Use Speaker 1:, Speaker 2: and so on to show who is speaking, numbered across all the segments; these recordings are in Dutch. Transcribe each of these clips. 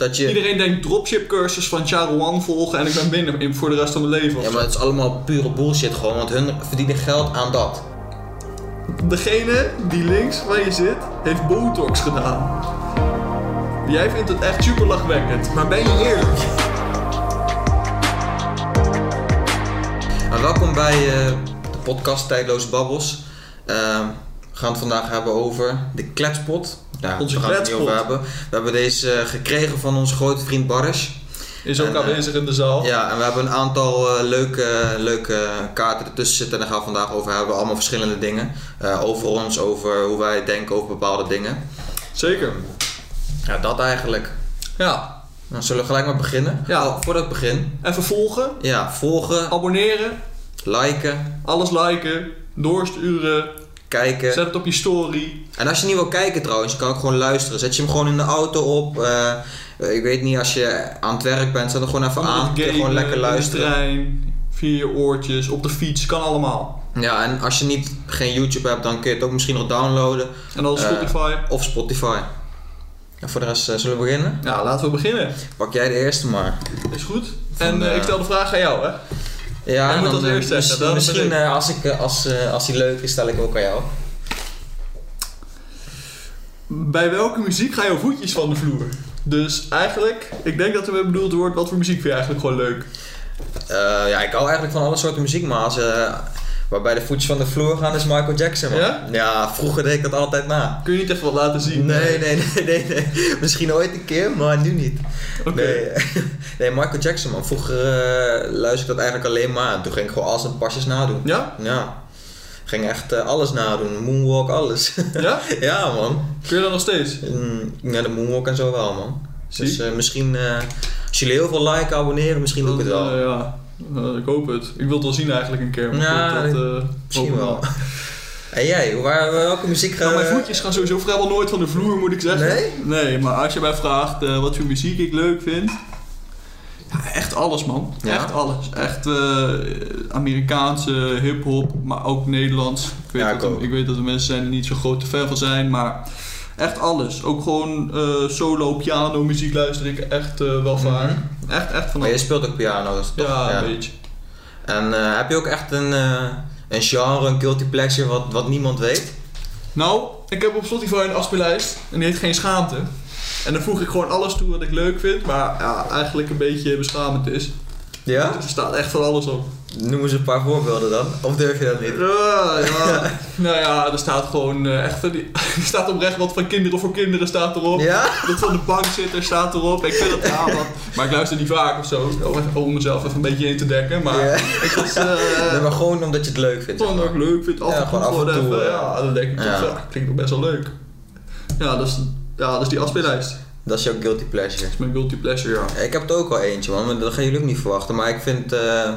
Speaker 1: Dat je...
Speaker 2: Iedereen denkt dropship cursus van Charouan volgen en ik ben binnen in- voor de rest van mijn leven. of
Speaker 1: Ja, maar het is allemaal pure bullshit gewoon, want hun verdienen geld aan dat.
Speaker 2: Degene die links waar je zit, heeft botox gedaan. Jij vindt het echt super lachwekkend, maar ben je eerlijk?
Speaker 1: En welkom bij eh, de podcast Tijdloze Babbels. Ehm, we gaan het vandaag hebben over de kletspot. Ja,
Speaker 2: Onze
Speaker 1: we gaan het er niet over
Speaker 2: kletspot.
Speaker 1: hebben. We hebben deze eh, gekregen van onze grote vriend Barres.
Speaker 2: Is ook
Speaker 1: En, eh,
Speaker 2: aanwezig in de zaal.
Speaker 1: Ja, en we hebben een aantal eh, leuke, leuke kaarten ertussen zitten. En daar gaan we vandaag over hebben. Allemaal verschillende dingen. Eh, over ons, over hoe wij denken over bepaalde dingen.
Speaker 2: Zeker.
Speaker 1: Ja, dat eigenlijk.
Speaker 2: Ja,
Speaker 1: Dan Nou, zullen we gelijk maar beginnen.
Speaker 2: Ja.
Speaker 1: Oh, voordat ik begin.
Speaker 2: even volgen,
Speaker 1: Ja, volgen,
Speaker 2: abonneren,
Speaker 1: liken,
Speaker 2: alles liken, doorsturen,
Speaker 1: kijken.
Speaker 2: zet het op je story.
Speaker 1: En als je niet wil kijken trouwens, je kan ook gewoon luisteren. Zet je hem gewoon in de auto op. eh, ik weet niet, als je aan het werk bent, zet hem gewoon even aan. Kun je gewoon lekker
Speaker 2: in de
Speaker 1: luisteren.
Speaker 2: trein, via je oortjes, op de fiets, kan allemaal.
Speaker 1: Ja, en als je niet, geen YouTube hebt, dan kun je het ook misschien nog downloaden.
Speaker 2: En dan is
Speaker 1: Eh.
Speaker 2: Spotify.
Speaker 1: Of Spotify. En voor de rest eh, zullen we beginnen.
Speaker 2: Nou, laten we beginnen.
Speaker 1: Pak jij de eerste maar.
Speaker 2: Is goed.
Speaker 1: Van,
Speaker 2: en eh,
Speaker 1: eh,
Speaker 2: ik stel de vraag aan jou, hè?
Speaker 1: Ja,
Speaker 2: Jij moet als
Speaker 1: eh,
Speaker 2: eerst zeggen,
Speaker 1: mis-
Speaker 2: dan ben
Speaker 1: misschien
Speaker 2: ik.
Speaker 1: eh, als, ik, eh, als, eh, als die leuk is, stel ik hem ook aan jou.
Speaker 2: Bij welke muziek ga je voetjes van de vloer? Dus eigenlijk, ik denk dat er mee bedoeld wordt, wat voor muziek vind je eigenlijk gewoon leuk?
Speaker 1: Eh, ja, ik hou eigenlijk van alle soorten muziek, maar als, eh, waarbij de voetjes van de vloer gaan is Michael Jackson. man.
Speaker 2: Ja?
Speaker 1: ja, vroeger deed ik dat altijd na.
Speaker 2: Kun je niet even wat laten zien?
Speaker 1: Nee, nee, nee, nee, nee. Misschien ooit een keer, maar nu niet.
Speaker 2: Oké.
Speaker 1: Nee, nee, Michael Jackson, man. Vroeger eh, luisterde ik dat eigenlijk alleen maar. aan. Toen ging ik gewoon alles en pasjes nadoen.
Speaker 2: Ja?
Speaker 1: Ja. Ging echt eh, alles nadoen. Moonwalk, alles.
Speaker 2: Ja?
Speaker 1: ja, man.
Speaker 2: Kun je dat nog steeds?
Speaker 1: Mm, Ja, de moonwalk en zo wel, man.
Speaker 2: Zie.
Speaker 1: Dus eh, misschien... eh, als jullie heel veel liken, abonneren, misschien doe ik het wel.
Speaker 2: Eh, ja, Eh, ik hoop het. Ik wil het wel zien eigenlijk een keer. maar
Speaker 1: Ja,
Speaker 2: goed, dat, eh,
Speaker 1: misschien
Speaker 2: hopen we
Speaker 1: wel.
Speaker 2: maar.
Speaker 1: En jij, waar, eh, welke muziek gaan
Speaker 2: Nou, mijn voetjes gaan sowieso vrijwel nooit van de vloer, moet ik zeggen.
Speaker 1: Nee?
Speaker 2: Nee, maar als je mij vraagt eh, wat voor muziek ik leuk vind. Ja, echt alles, man.
Speaker 1: Ja?
Speaker 2: Echt alles. Echt eh, Amerikaanse hip-hop, maar ook Nederlands. Ik weet,
Speaker 1: Ja, ik
Speaker 2: dat,
Speaker 1: ook.
Speaker 2: er, ik weet dat er mensen zijn die niet zo'n grote fan van zijn, maar echt alles. Ook gewoon eh, solo, piano, muziek luister ik echt eh, wel vaak.
Speaker 1: Mhm.
Speaker 2: Echt, echt van
Speaker 1: Maar je
Speaker 2: alles.
Speaker 1: speelt ook piano, dus toch?
Speaker 2: Ja, een beetje.
Speaker 1: En eh, heb je ook echt een, eh, een genre, een guilty pleasure wat, wat niemand weet?
Speaker 2: Nou, ik heb op Spotify een afspeellijst en die heet Geen Schaamte. En daar voeg ik gewoon alles toe wat ik leuk vind, maar ja, eigenlijk een beetje beschamend is.
Speaker 1: Ja?
Speaker 2: Er staat echt van alles op.
Speaker 1: Noem eens een paar voorbeelden dan. Of durf je dat niet?
Speaker 2: Ja,
Speaker 1: Ah,
Speaker 2: ja. nou ja, er staat gewoon eh, echt van die... Er staat oprecht wat van kinderen voor kinderen staat erop.
Speaker 1: Ja?
Speaker 2: Dat van de bankzitter staat erop. Ik vind dat ja, man. Maar ik luister niet vaak of zo, om even- om mezelf even een beetje in te dekken. Maar
Speaker 1: Ja.
Speaker 2: ik was... eh,
Speaker 1: Nee, maar gewoon omdat je het leuk vindt. zeg
Speaker 2: Gewoon dat
Speaker 1: maar.
Speaker 2: ik leuk vind, af
Speaker 1: Ja,
Speaker 2: en toe
Speaker 1: gewoon af en
Speaker 2: gewoon
Speaker 1: toe,
Speaker 2: even,
Speaker 1: eh.
Speaker 2: ja, dan denk ik
Speaker 1: Ja.
Speaker 2: toch, ja, klinkt nog best wel leuk. Ja, dat is, ja, dat is die afspeellijst. Dat
Speaker 1: Dat is jouw guilty pleasure.
Speaker 2: is mijn guilty pleasure, ja.
Speaker 1: Ik heb het ook al eentje, man. maar Dat gaan jullie ook niet verwachten. Maar ik vind... eh,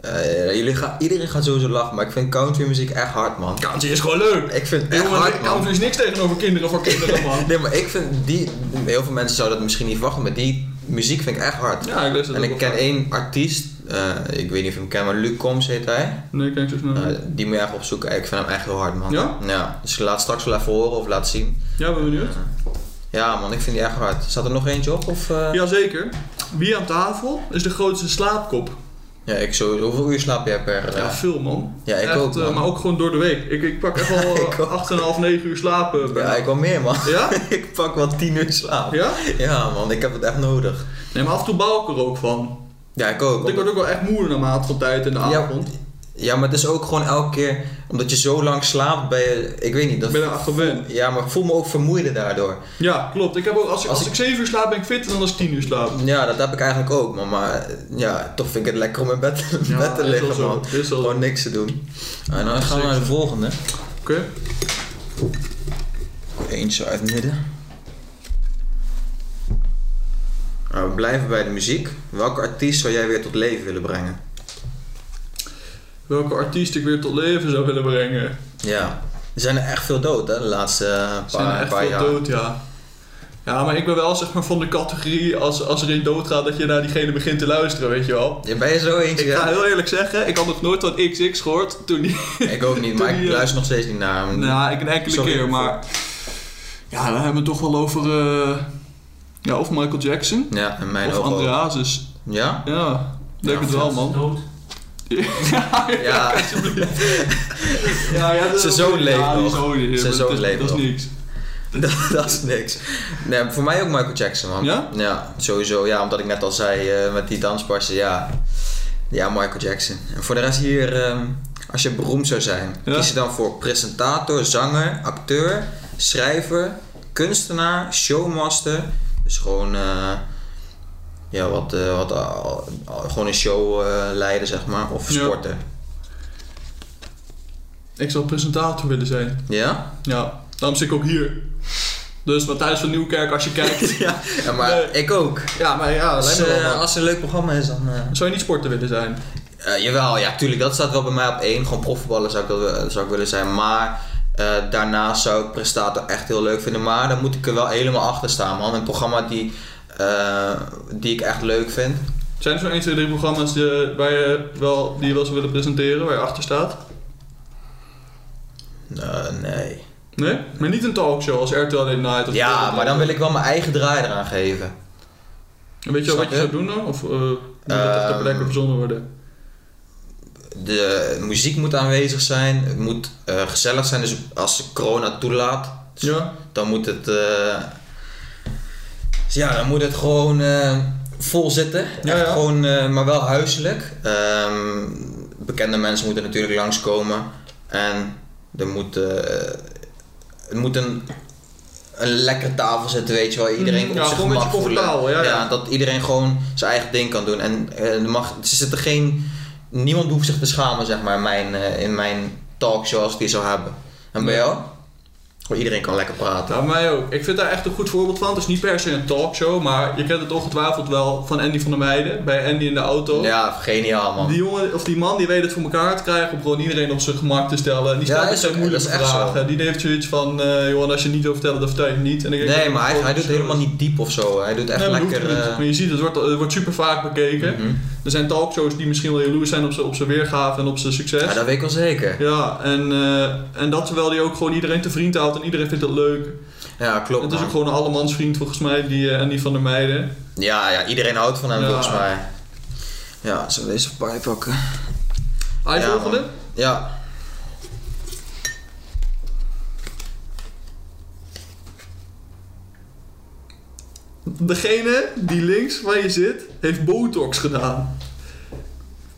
Speaker 1: eh, jullie gaan, iedereen gaat sowieso lachen, maar ik vind countrymuziek echt hard, man.
Speaker 2: Country is gewoon leuk.
Speaker 1: Ik vind het echt
Speaker 2: Jongen,
Speaker 1: hard, man.
Speaker 2: country is dus niks tegenover kinderen voor kinderen, man.
Speaker 1: Nee, maar ik vind die... Heel veel mensen zouden dat misschien niet verwachten, maar die muziek vind ik echt hard.
Speaker 2: Ja, ik luister
Speaker 1: En
Speaker 2: dat
Speaker 1: ik
Speaker 2: ook
Speaker 1: ken
Speaker 2: wel.
Speaker 1: één artiest, eh, ik weet niet of je hem kent, maar Luc Combs heet hij.
Speaker 2: Nee, kijk zo snel.
Speaker 1: Eh, die moet je echt opzoeken. Ik vind hem echt heel hard, man.
Speaker 2: Ja?
Speaker 1: Dus ik laat straks wel even horen of laat zien.
Speaker 2: Ja, ben benieuwd.
Speaker 1: Ja, man, ik vind die echt hard. Staat er nog eentje op? Of, eh?
Speaker 2: Jazeker. Wie aan tafel is de grootste slaapkop?
Speaker 1: Ja, ik zo. Hoeveel uur slaap jij per... eh,
Speaker 2: Ja, veel man.
Speaker 1: Ja, ik
Speaker 2: Echt,
Speaker 1: ook,
Speaker 2: eh,
Speaker 1: man.
Speaker 2: maar ook gewoon door de week. Ik, ik pak echt wel eh,
Speaker 1: Ik ook.
Speaker 2: 8,5, 9 uur slapen.
Speaker 1: ja, ik wil meer, man.
Speaker 2: ja?
Speaker 1: ik pak wel 10 uur slaap.
Speaker 2: Ja?
Speaker 1: Ja, man, ik heb het echt nodig.
Speaker 2: Nee, maar af en toe bouw ik er ook van.
Speaker 1: Ja, ik ook.
Speaker 2: Want ik word ook wel echt moe naarmate van tijd in de
Speaker 1: Ja,
Speaker 2: avond.
Speaker 1: Ja, maar het is ook gewoon elke keer... Omdat je zo lang slaapt, ben je... Ik weet niet. Dat...
Speaker 2: Ik ben er aan gewend.
Speaker 1: Ja, maar ik voel me ook vermoeider daardoor.
Speaker 2: Ja, klopt. Ik heb ook, als, ik,
Speaker 1: Als
Speaker 2: als, ik 7 uur slaap ben ik fitter dan als ik 10 uur slaap.
Speaker 1: Ja, dat heb ik eigenlijk ook, man. Maar eh, ja, toch vind ik het lekker om in bed, in bed te
Speaker 2: is wel
Speaker 1: liggen,
Speaker 2: zo,
Speaker 1: man.
Speaker 2: Is wel zo.
Speaker 1: Gewoon niks te doen. En dan gaan we
Speaker 2: Zeker.
Speaker 1: naar de volgende.
Speaker 2: Oké.
Speaker 1: Eentje uit het midden. Nou, we blijven bij de muziek. Welke artiest zou jij weer tot leven willen brengen?
Speaker 2: Welke artiest ik weer tot leven zou willen brengen?
Speaker 1: Ja. Er zijn er echt veel dood, hè, de laatste eh, paar,
Speaker 2: Er zijn er echt
Speaker 1: paar
Speaker 2: veel
Speaker 1: jaar.
Speaker 2: dood, ja. Ja, maar ik ben wel zeg maar van de categorie als, als er een doodgaat dat je naar diegene begint te luisteren, weet je wel.
Speaker 1: Ja, ben je zo eentje?
Speaker 2: Ik ga
Speaker 1: ja?
Speaker 2: heel eerlijk zeggen, ik had nog nooit van XX gehoord toen die...
Speaker 1: Ik ook niet,
Speaker 2: Toen
Speaker 1: maar
Speaker 2: die,
Speaker 1: ik
Speaker 2: eh,
Speaker 1: luister nog steeds niet naar hem.
Speaker 2: Nou, ik een enkele
Speaker 1: Sorry.
Speaker 2: keer, maar... Ja, dan hebben we het toch wel over... eh, Ja, of Michael Jackson.
Speaker 1: Ja, in mijn
Speaker 2: Of
Speaker 1: ogen ook.
Speaker 2: Andreasus.
Speaker 1: Ja?
Speaker 2: Ja, denk
Speaker 1: Ja,
Speaker 2: het wel,
Speaker 3: Zelfs
Speaker 2: man.
Speaker 3: dood.
Speaker 2: ja,
Speaker 1: Ja.
Speaker 2: ja, ja, dat-
Speaker 1: Zijn zoon leeft
Speaker 2: ja, die
Speaker 1: nog.
Speaker 2: zoon, ja, maar
Speaker 1: Zijn
Speaker 2: dat
Speaker 1: zoon
Speaker 2: is-
Speaker 1: leeft
Speaker 2: Dat
Speaker 1: nog.
Speaker 2: is niks.
Speaker 1: dat, dat is niks. Nee, voor mij ook Michael Jackson, man.
Speaker 2: Ja?
Speaker 1: sowieso. Ja, omdat ik net al zei eh, met die dansparsen, ja. Ja, Michael Jackson. En voor de rest hier, ehm, als je beroemd zou zijn,
Speaker 2: Ja.
Speaker 1: kies je dan voor presentator, zanger, acteur, schrijver, kunstenaar, showmaster. Dus gewoon, eh, ja, wat, eh, wat, al- al- gewoon een show eh, leiden, zeg maar. Of
Speaker 2: Ja.
Speaker 1: sporten.
Speaker 2: Ik zou presentator willen zijn.
Speaker 1: Ja?
Speaker 2: Ja, daarom zit ik ook hier. Dus Matthijs van Nieuwkerk, als je kijkt.
Speaker 1: Ja, maar
Speaker 2: Nee.
Speaker 1: ik ook.
Speaker 2: ja, maar ja,
Speaker 1: Als,
Speaker 2: lijkt me wel
Speaker 1: eh,
Speaker 2: wat.
Speaker 1: als er een leuk programma is, dan... eh,
Speaker 2: Zou je niet sporter willen zijn?
Speaker 1: Eh, jawel, ja, tuurlijk. Dat staat wel bij mij op één. Gewoon profvoetballer zou ik, wel- eh, zou ik willen zijn. Maar eh, daarnaast zou ik prestator echt heel leuk vinden. Maar dan moet ik er wel helemaal achter staan, man. Een programma die, eh, die ik echt leuk vind.
Speaker 2: Zijn er zo'n 1, 2, 3 programma's die, eh, waar je wel, die je wel zou willen presenteren, waar je achter staat?
Speaker 1: Eh, nee.
Speaker 2: Nee? Maar niet een talkshow als RTL Late Night of
Speaker 1: Ja, maar dan wil ik wel mijn eigen draai eraan geven.
Speaker 2: En Weet je al wat je zou
Speaker 1: Snap
Speaker 2: doen dan? Of eh moet dat echt ter
Speaker 1: Ehm,
Speaker 2: plekke verzonnen worden?
Speaker 1: De muziek moet aanwezig zijn. Het moet eh, gezellig zijn. Dus als corona toelaat, dus
Speaker 2: Ja.
Speaker 1: dan moet het. eh, dus ja, dan moet het gewoon eh, vol zitten.
Speaker 2: Ja,
Speaker 1: Echt
Speaker 2: ja.
Speaker 1: Gewoon, eh, maar wel huiselijk. Ehm, bekende mensen moeten natuurlijk langskomen. En er moet, eh, het moet een, een lekkere tafel zitten, weet je wel. Iedereen
Speaker 2: Mm,
Speaker 1: op
Speaker 2: ja,
Speaker 1: zijn
Speaker 2: gewoon een
Speaker 1: gemak
Speaker 2: beetje
Speaker 1: voelen.
Speaker 2: comfortabel, ja, ja.
Speaker 1: dat iedereen gewoon zijn eigen ding kan doen. En eh, er mag, er zitten geen, niemand hoeft zich te schamen, zeg maar, in mijn, eh, in mijn talk zoals ik die zou hebben. En bij jou? Gewoon iedereen kan lekker praten.
Speaker 2: Nou, mij ook. Ik vind daar echt een goed voorbeeld van. Het is niet per se een talkshow, maar je kent het ongetwijfeld wel van Andy van der Meijden. Bij Andy in de auto.
Speaker 1: Ja, geniaal man.
Speaker 2: Die jongen, of die man, die weet het voor elkaar te krijgen om gewoon iedereen op zijn gemak te stellen. En die
Speaker 1: Ja,
Speaker 2: stelt
Speaker 1: is
Speaker 2: ook geen
Speaker 1: ook-
Speaker 2: moeilijke
Speaker 1: dat is echt zo.
Speaker 2: vragen. Die heeft zoiets van, eh joh, als je het niet wil vertellen, dan vertel je het niet. En ik denk
Speaker 1: Nee,
Speaker 2: dat
Speaker 1: maar hij,
Speaker 2: het
Speaker 1: hij doet
Speaker 2: gewoon
Speaker 1: helemaal
Speaker 2: zo is.
Speaker 1: niet diep of zo. Hij doet echt
Speaker 2: Nee, maar, dat hoeft
Speaker 1: lekker.
Speaker 2: ook niet.
Speaker 1: eh,
Speaker 2: maar je ziet, het wordt, het wordt super vaak bekeken.
Speaker 1: mhm.
Speaker 2: Er zijn talkshows die misschien wel jaloers zijn op zijn, op zijn weergave en op zijn succes.
Speaker 1: Ja, dat weet ik wel zeker.
Speaker 2: Ja, en, eh, en dat terwijl hij ook gewoon iedereen te vriend houdt en iedereen vindt het leuk.
Speaker 1: Ja, klopt.
Speaker 2: het is
Speaker 1: man.
Speaker 2: ook gewoon een allemansvriend volgens mij, die eh, Andy van der Meijden.
Speaker 1: Ja, ja, iedereen houdt van hem
Speaker 2: Ja.
Speaker 1: volgens mij. Ja, zullen we deze erbij pakken?
Speaker 2: Hij
Speaker 1: Ja,
Speaker 2: volgende?
Speaker 1: man. Ja.
Speaker 2: Degene die links waar je zit, heeft botox gedaan.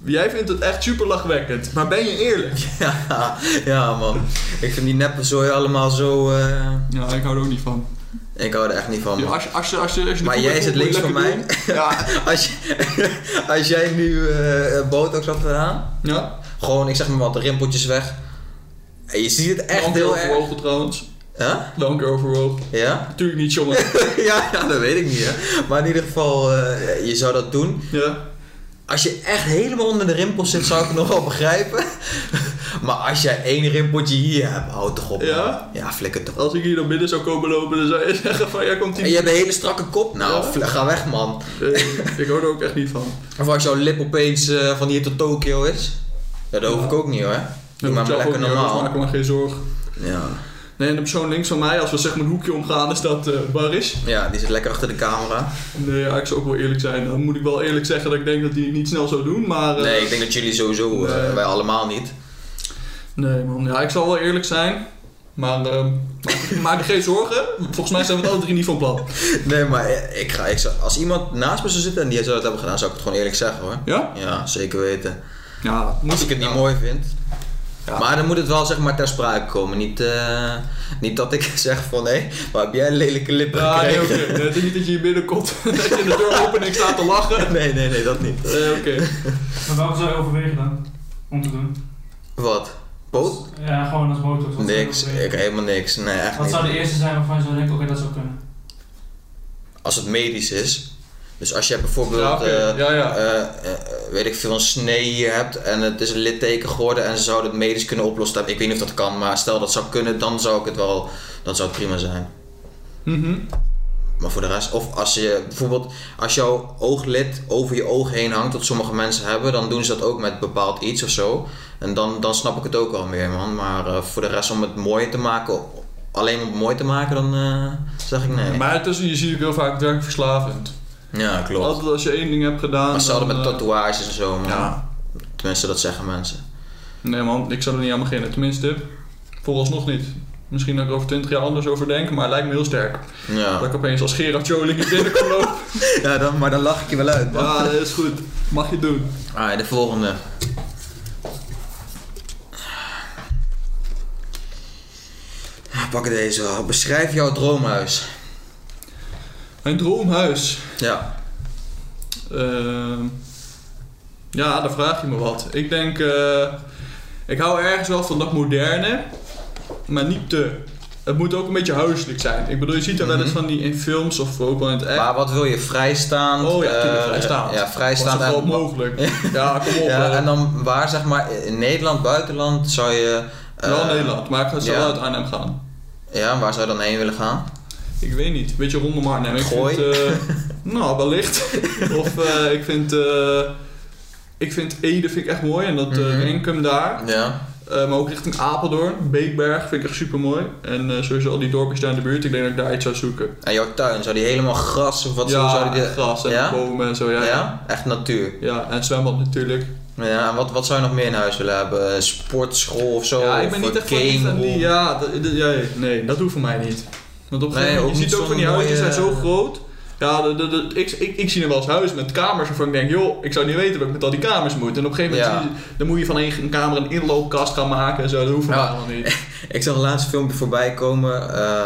Speaker 2: Jij vindt het echt super lachwekkend, maar ben je eerlijk?
Speaker 1: ja. Ja, man. Ik vind die neppe zooi allemaal zo. eh,
Speaker 2: Ja, ik hou er ook niet van.
Speaker 1: Ik hou er echt niet van. man.
Speaker 2: als, je- als, je- als, je- als je de
Speaker 1: Maar
Speaker 2: koek
Speaker 1: jij
Speaker 2: even
Speaker 1: zit links
Speaker 2: moet
Speaker 1: van mij.
Speaker 2: lekker doen. Ja.
Speaker 1: Als, je- als jij nu eh botox had gedaan,
Speaker 2: ja.
Speaker 1: gewoon, ik zeg maar wat, de rimpeltjes weg. En je ziet het echt
Speaker 2: Wel een keer
Speaker 1: heel erg.
Speaker 2: overwogen trouwens.
Speaker 1: Huh?
Speaker 2: Wel een keer overwogen.
Speaker 1: Ja?
Speaker 2: Natuurlijk niet, jongen.
Speaker 1: ja, ja, dat weet ik niet, hè. Maar in ieder geval, eh, je zou dat doen.
Speaker 2: ja.
Speaker 1: Als je echt helemaal onder de rimpels zit, zou ik het nog wel begrijpen. maar als jij één rimpeltje hier hebt, houd toch op. man.
Speaker 2: Ja?
Speaker 1: Ja, flikker toch. op.
Speaker 2: Als ik hier naar binnen zou komen lopen, dan zou je zeggen van, ja, komt
Speaker 1: En
Speaker 2: die...
Speaker 1: je hebt een hele strakke kop. Nou,
Speaker 2: Ja?
Speaker 1: fl- ga weg, man.
Speaker 2: Eh, ik hou er ook echt niet van.
Speaker 1: Of als jouw lip opeens eh, van hier tot Tokio is. Ja, dat hoef ik ook niet, hoor. Doe
Speaker 2: hoef
Speaker 1: maar
Speaker 2: ik zelf
Speaker 1: lekker
Speaker 2: ook niet, hoor, dus Maak
Speaker 1: normaal.
Speaker 2: me maar geen zorg.
Speaker 1: Ja.
Speaker 2: Nee, en de persoon links van mij, als we zeg maar een hoekje omgaan, is dat eh Baris.
Speaker 1: ja, die zit lekker achter de camera.
Speaker 2: Nee, ja, ik zou ook wel eerlijk zijn. Dan moet ik wel eerlijk zeggen dat ik denk dat die het niet snel zou doen, maar... eh,
Speaker 1: Nee, ik denk dat jullie sowieso, eh,
Speaker 2: Nee.
Speaker 1: wij allemaal niet.
Speaker 2: Nee, man. Ja, ik zal wel eerlijk zijn. Maar ehm, maak je geen zorgen. Volgens mij zijn we het alle drie niet van plan.
Speaker 1: Nee, maar eh, ik ga, ik zou, als iemand naast me zou zitten en die zou dat hebben gedaan, zou ik het gewoon eerlijk zeggen, hoor.
Speaker 2: Ja?
Speaker 1: Ja, zeker weten.
Speaker 2: Ja, moet
Speaker 1: Als ik het niet mooi vind.
Speaker 2: Ja.
Speaker 1: Maar dan moet het wel zeg maar ter sprake komen. Niet, eh, niet dat ik zeg van hé, waar heb jij een lelijke lippen
Speaker 2: Ja, nee,
Speaker 1: gekregen?
Speaker 2: oké. Nee, Het is niet dat je hier binnenkomt en dat je in de deur open en ik sta te lachen.
Speaker 1: nee, nee, nee, dat niet.
Speaker 2: Eh, oké.
Speaker 3: Maar waarom zou je overwegen dan? Om te doen?
Speaker 1: Wat? Boot?
Speaker 3: Ja, gewoon als botox. Wat zou je
Speaker 1: Niks.
Speaker 3: overwegen?
Speaker 1: Ik, helemaal niks. Nee, echt
Speaker 3: Wat zou
Speaker 1: niet.
Speaker 3: de eerste zijn waarvan je zou denken, oké, dat zou kunnen?
Speaker 1: Als het medisch is. Dus als jij bijvoorbeeld,
Speaker 2: Ja, oké.
Speaker 1: eh,
Speaker 2: Ja, ja.
Speaker 1: eh, eh, weet ik veel, een snee hier hebt en het is een litteken geworden en ze zouden het medisch kunnen oplossen. Ik weet niet of dat kan, maar stel dat zou kunnen, dan zou ik het wel, dan zou het prima zijn.
Speaker 2: Mhm.
Speaker 1: Maar voor de rest, of als je bijvoorbeeld, als jouw ooglid over je oog heen hangt, wat sommige mensen hebben, dan doen ze dat ook met bepaald iets of zo. En dan, dan snap ik het ook wel meer, man. Maar eh, voor de rest, om het mooi te maken, alleen om het mooi te maken, dan eh, dacht ik nee.
Speaker 2: Maar intussen, je ziet ook heel vaak werkverslavend.
Speaker 1: Ja, klopt.
Speaker 2: Altijd als je één ding hebt gedaan...
Speaker 1: Maar ze hadden
Speaker 2: dan,
Speaker 1: met
Speaker 2: eh,
Speaker 1: tatoeages en zo, man.
Speaker 2: Ja.
Speaker 1: Tenminste, dat zeggen mensen.
Speaker 2: Nee man, ik zou er niet aan beginnen. Tenminste, vooralsnog niet. Misschien dat ik er over 20 jaar anders over denk, maar het lijkt me heel sterk. Dat
Speaker 1: Ja,
Speaker 2: ik opeens als Gerard Joling in binnen kan lopen.
Speaker 1: ja dan, maar dan lach ik je wel uit,
Speaker 2: Ja, dat is goed. Mag je doen.
Speaker 1: Ah, de volgende. Ah, Pak deze wel. Beschrijf jouw droomhuis.
Speaker 2: Mijn droomhuis.
Speaker 1: Ja.
Speaker 2: Ehm, ja, daar vraag je me wat. Ik denk, eh, ik hou ergens wel van dat moderne, maar niet te. Het moet ook een beetje huiselijk zijn. Ik bedoel, je ziet er wel eens
Speaker 1: Mhm.
Speaker 2: van die in films of ook wel in het echt.
Speaker 1: Maar wat wil je? Vrijstaand?
Speaker 2: oh ja, tuurlijk,
Speaker 1: eh,
Speaker 2: vrijstaand.
Speaker 1: Ja, vrijstaand.
Speaker 2: Zo groot
Speaker 1: en-
Speaker 2: mogelijk. ja, kom op.
Speaker 1: Ja,
Speaker 2: eh.
Speaker 1: en dan waar zeg maar in Nederland, buitenland zou je. eh,
Speaker 2: wel Nederland, maar ik
Speaker 1: ja.
Speaker 2: zou wel uit Arnhem gaan.
Speaker 1: Ja, waar zou je dan heen willen gaan?
Speaker 2: Ik weet niet, beetje rondom Arnhem. Ik
Speaker 1: Gooi.
Speaker 2: Vind, eh, nou, wellicht. of eh, ik vind... eh, ik vind Ede vind ik echt mooi en dat eh
Speaker 1: Mhm.
Speaker 2: Renkum daar.
Speaker 1: Ja.
Speaker 2: Eh, maar ook richting Apeldoorn, Beekberg vind ik echt super mooi. En eh, sowieso al die dorpjes daar in de buurt, ik denk dat ik daar iets zou zoeken.
Speaker 1: En jouw tuin, zou die helemaal gras of wat
Speaker 2: ja,
Speaker 1: zou die.
Speaker 2: gras en
Speaker 1: ja?
Speaker 2: bomen en zo, ja.
Speaker 1: ja?
Speaker 2: Ja,
Speaker 1: echt natuur.
Speaker 2: Ja, en zwembad natuurlijk.
Speaker 1: Ja, en wat, wat zou je nog meer in huis willen hebben? Een Sportschool of zo?
Speaker 2: ja, ik
Speaker 1: Of
Speaker 2: ben niet
Speaker 1: een
Speaker 2: echt van die- van die,
Speaker 1: gameroom?
Speaker 2: ja, dat- dat- ja, nee, dat hoeft voor mij niet. Want op een
Speaker 1: Nee,
Speaker 2: gegeven
Speaker 1: ook
Speaker 2: moment, je
Speaker 1: niet
Speaker 2: ziet ook van die
Speaker 1: zo'n
Speaker 2: huizen zijn
Speaker 1: mooie-
Speaker 2: zo groot. Ja, de, de, de- ik, ik, ik zie er wel eens huizen met kamers waarvan ik denk, joh, ik zou niet weten wat ik met al die kamers moet. En op een gegeven moment
Speaker 1: Ja.
Speaker 2: zie je- dan moet je van een, een kamer een inloopkast gaan maken en zo, dat hoeft voor
Speaker 1: Ja.
Speaker 2: mij allemaal niet.
Speaker 1: Ik zag een laatste filmpje voorbij komen. eh,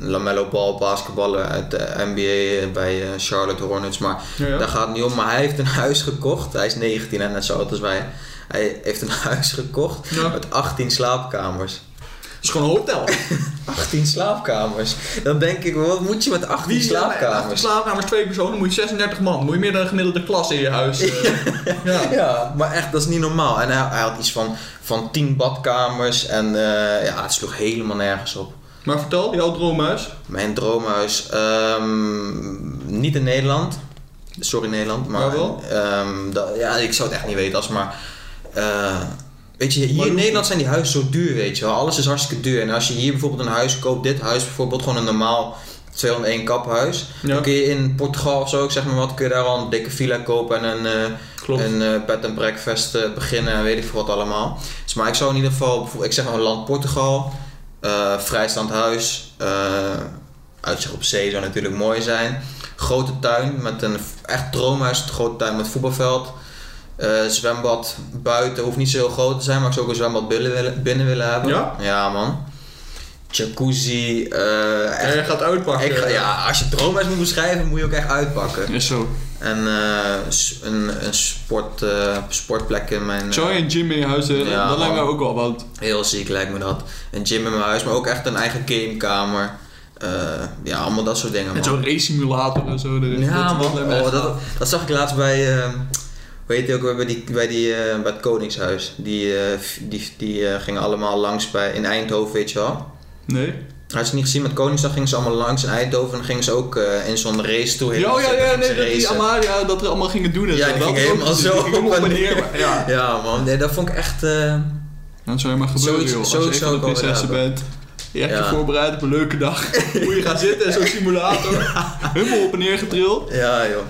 Speaker 1: Lamello Ball, basketballer uit de NBA bij eh, Charlotte Hornets. Maar
Speaker 2: Ja, ja.
Speaker 1: daar gaat het niet om. Maar hij heeft een huis gekocht. Hij is 19 en net zo oud als wij. Hij heeft een huis gekocht
Speaker 2: Ja.
Speaker 1: met 18 slaapkamers.
Speaker 2: Het is gewoon een hotel.
Speaker 1: 18 slaapkamers. Dan denk ik, wat moet je met 18
Speaker 2: Wie Ja,
Speaker 1: slaapkamers?
Speaker 2: slaapkamers, twee personen, moet je 36 man. Moet je meer dan een gemiddelde klas in je huis. eh. ja.
Speaker 1: Ja, maar echt, dat is niet normaal. En hij, hij had iets van, van 10 badkamers. En eh, ja, het sloeg helemaal nergens op.
Speaker 2: Maar vertel, jouw droomhuis.
Speaker 1: Mijn droomhuis. ehm, niet in Nederland. Sorry Nederland, maar.
Speaker 2: Waar wel?
Speaker 1: ehm, dat- ja, ik zou het echt niet weten als maar. eh, weet je,
Speaker 2: Maar
Speaker 1: hier in
Speaker 2: hoe-
Speaker 1: Nederland zijn die huizen zo duur, weet je wel. Alles is hartstikke duur. En als je hier bijvoorbeeld een huis koopt, dit huis bijvoorbeeld, gewoon een normaal 201 kaphuis.
Speaker 2: Ja,
Speaker 1: Dan kun je in Portugal of zo, ik zeg maar wat, kun je daar al een dikke villa kopen en een, eh,
Speaker 2: klopt.
Speaker 1: een eh, bed and breakfast eh, beginnen en weet ik veel wat allemaal. Dus, maar ik zou in ieder geval, bijvoorbeeld- ik zeg maar land Portugal, eh, vrijstaand huis, eh, uitzicht op zee zou natuurlijk mooi zijn. Grote tuin met een v- echt droomhuis, een grote tuin met voetbalveld. Eh, zwembad buiten, hoeft niet zo heel groot te zijn, maar ik zou ook een zwembad binnen willen, binnen willen hebben.
Speaker 2: Ja?
Speaker 1: man. Jacuzzi, eh,
Speaker 2: Ja,
Speaker 1: echt
Speaker 2: je gaat uitpakken.
Speaker 1: ik ga- ja, als je droomhuis moet beschrijven, moet je ook echt uitpakken.
Speaker 2: Is zo.
Speaker 1: En eh, s- een, een sport, eh, sportplek in mijn...
Speaker 2: Zou je een gym in je huis hebben?
Speaker 1: Ja,
Speaker 2: dat lijkt mij
Speaker 1: man.
Speaker 2: ook wel, want
Speaker 1: Heel ziek lijkt me dat. Een gym in mijn huis, maar ook echt een eigen gamekamer. Eh, ja, allemaal dat soort dingen,
Speaker 2: met
Speaker 1: man.
Speaker 2: zo'n race simulator en zo erin.
Speaker 1: Ja,
Speaker 2: dat,
Speaker 1: man.
Speaker 2: lijkt mij
Speaker 1: Oh,
Speaker 2: echt
Speaker 1: dat,
Speaker 2: gaaf.
Speaker 1: dat zag ik laatst bij... eh, hoe heet die ook weer? Bij, die, bij, die, eh, bij het Koningshuis. Die, eh, f- die, die eh, gingen allemaal langs bij, in Eindhoven, weet je wel.
Speaker 2: Nee?
Speaker 1: Had je het niet gezien met Koningsdag? Gingen ze allemaal langs in Eindhoven en dan gingen ze ook eh, in zo'n race toe.
Speaker 2: Ja, oh, ja, ja,
Speaker 1: Gingen ze
Speaker 2: nee, dat die
Speaker 1: racen.
Speaker 2: Amalia dat er allemaal gingen doen en
Speaker 1: Ja, die
Speaker 2: zo. Dat
Speaker 1: ging
Speaker 2: ook
Speaker 1: helemaal
Speaker 2: niet.
Speaker 1: zo
Speaker 2: Die ging
Speaker 1: op
Speaker 2: op en
Speaker 1: en
Speaker 2: neer. maar Ja.
Speaker 1: Ja man, nee, dat vond ik echt... eh,
Speaker 2: Dat zou je maar gebeuren,
Speaker 1: Zoiets-
Speaker 2: joh. Als
Speaker 1: zoiets
Speaker 2: je
Speaker 1: zou
Speaker 2: een
Speaker 1: ik wel
Speaker 2: prinsessen
Speaker 1: willen
Speaker 2: bent. Je hebt
Speaker 1: Ja.
Speaker 2: je voorbereid op een leuke dag. Hoe je gaat zitten in zo'n simulator. Helemaal op en neer getrild.
Speaker 1: ja joh.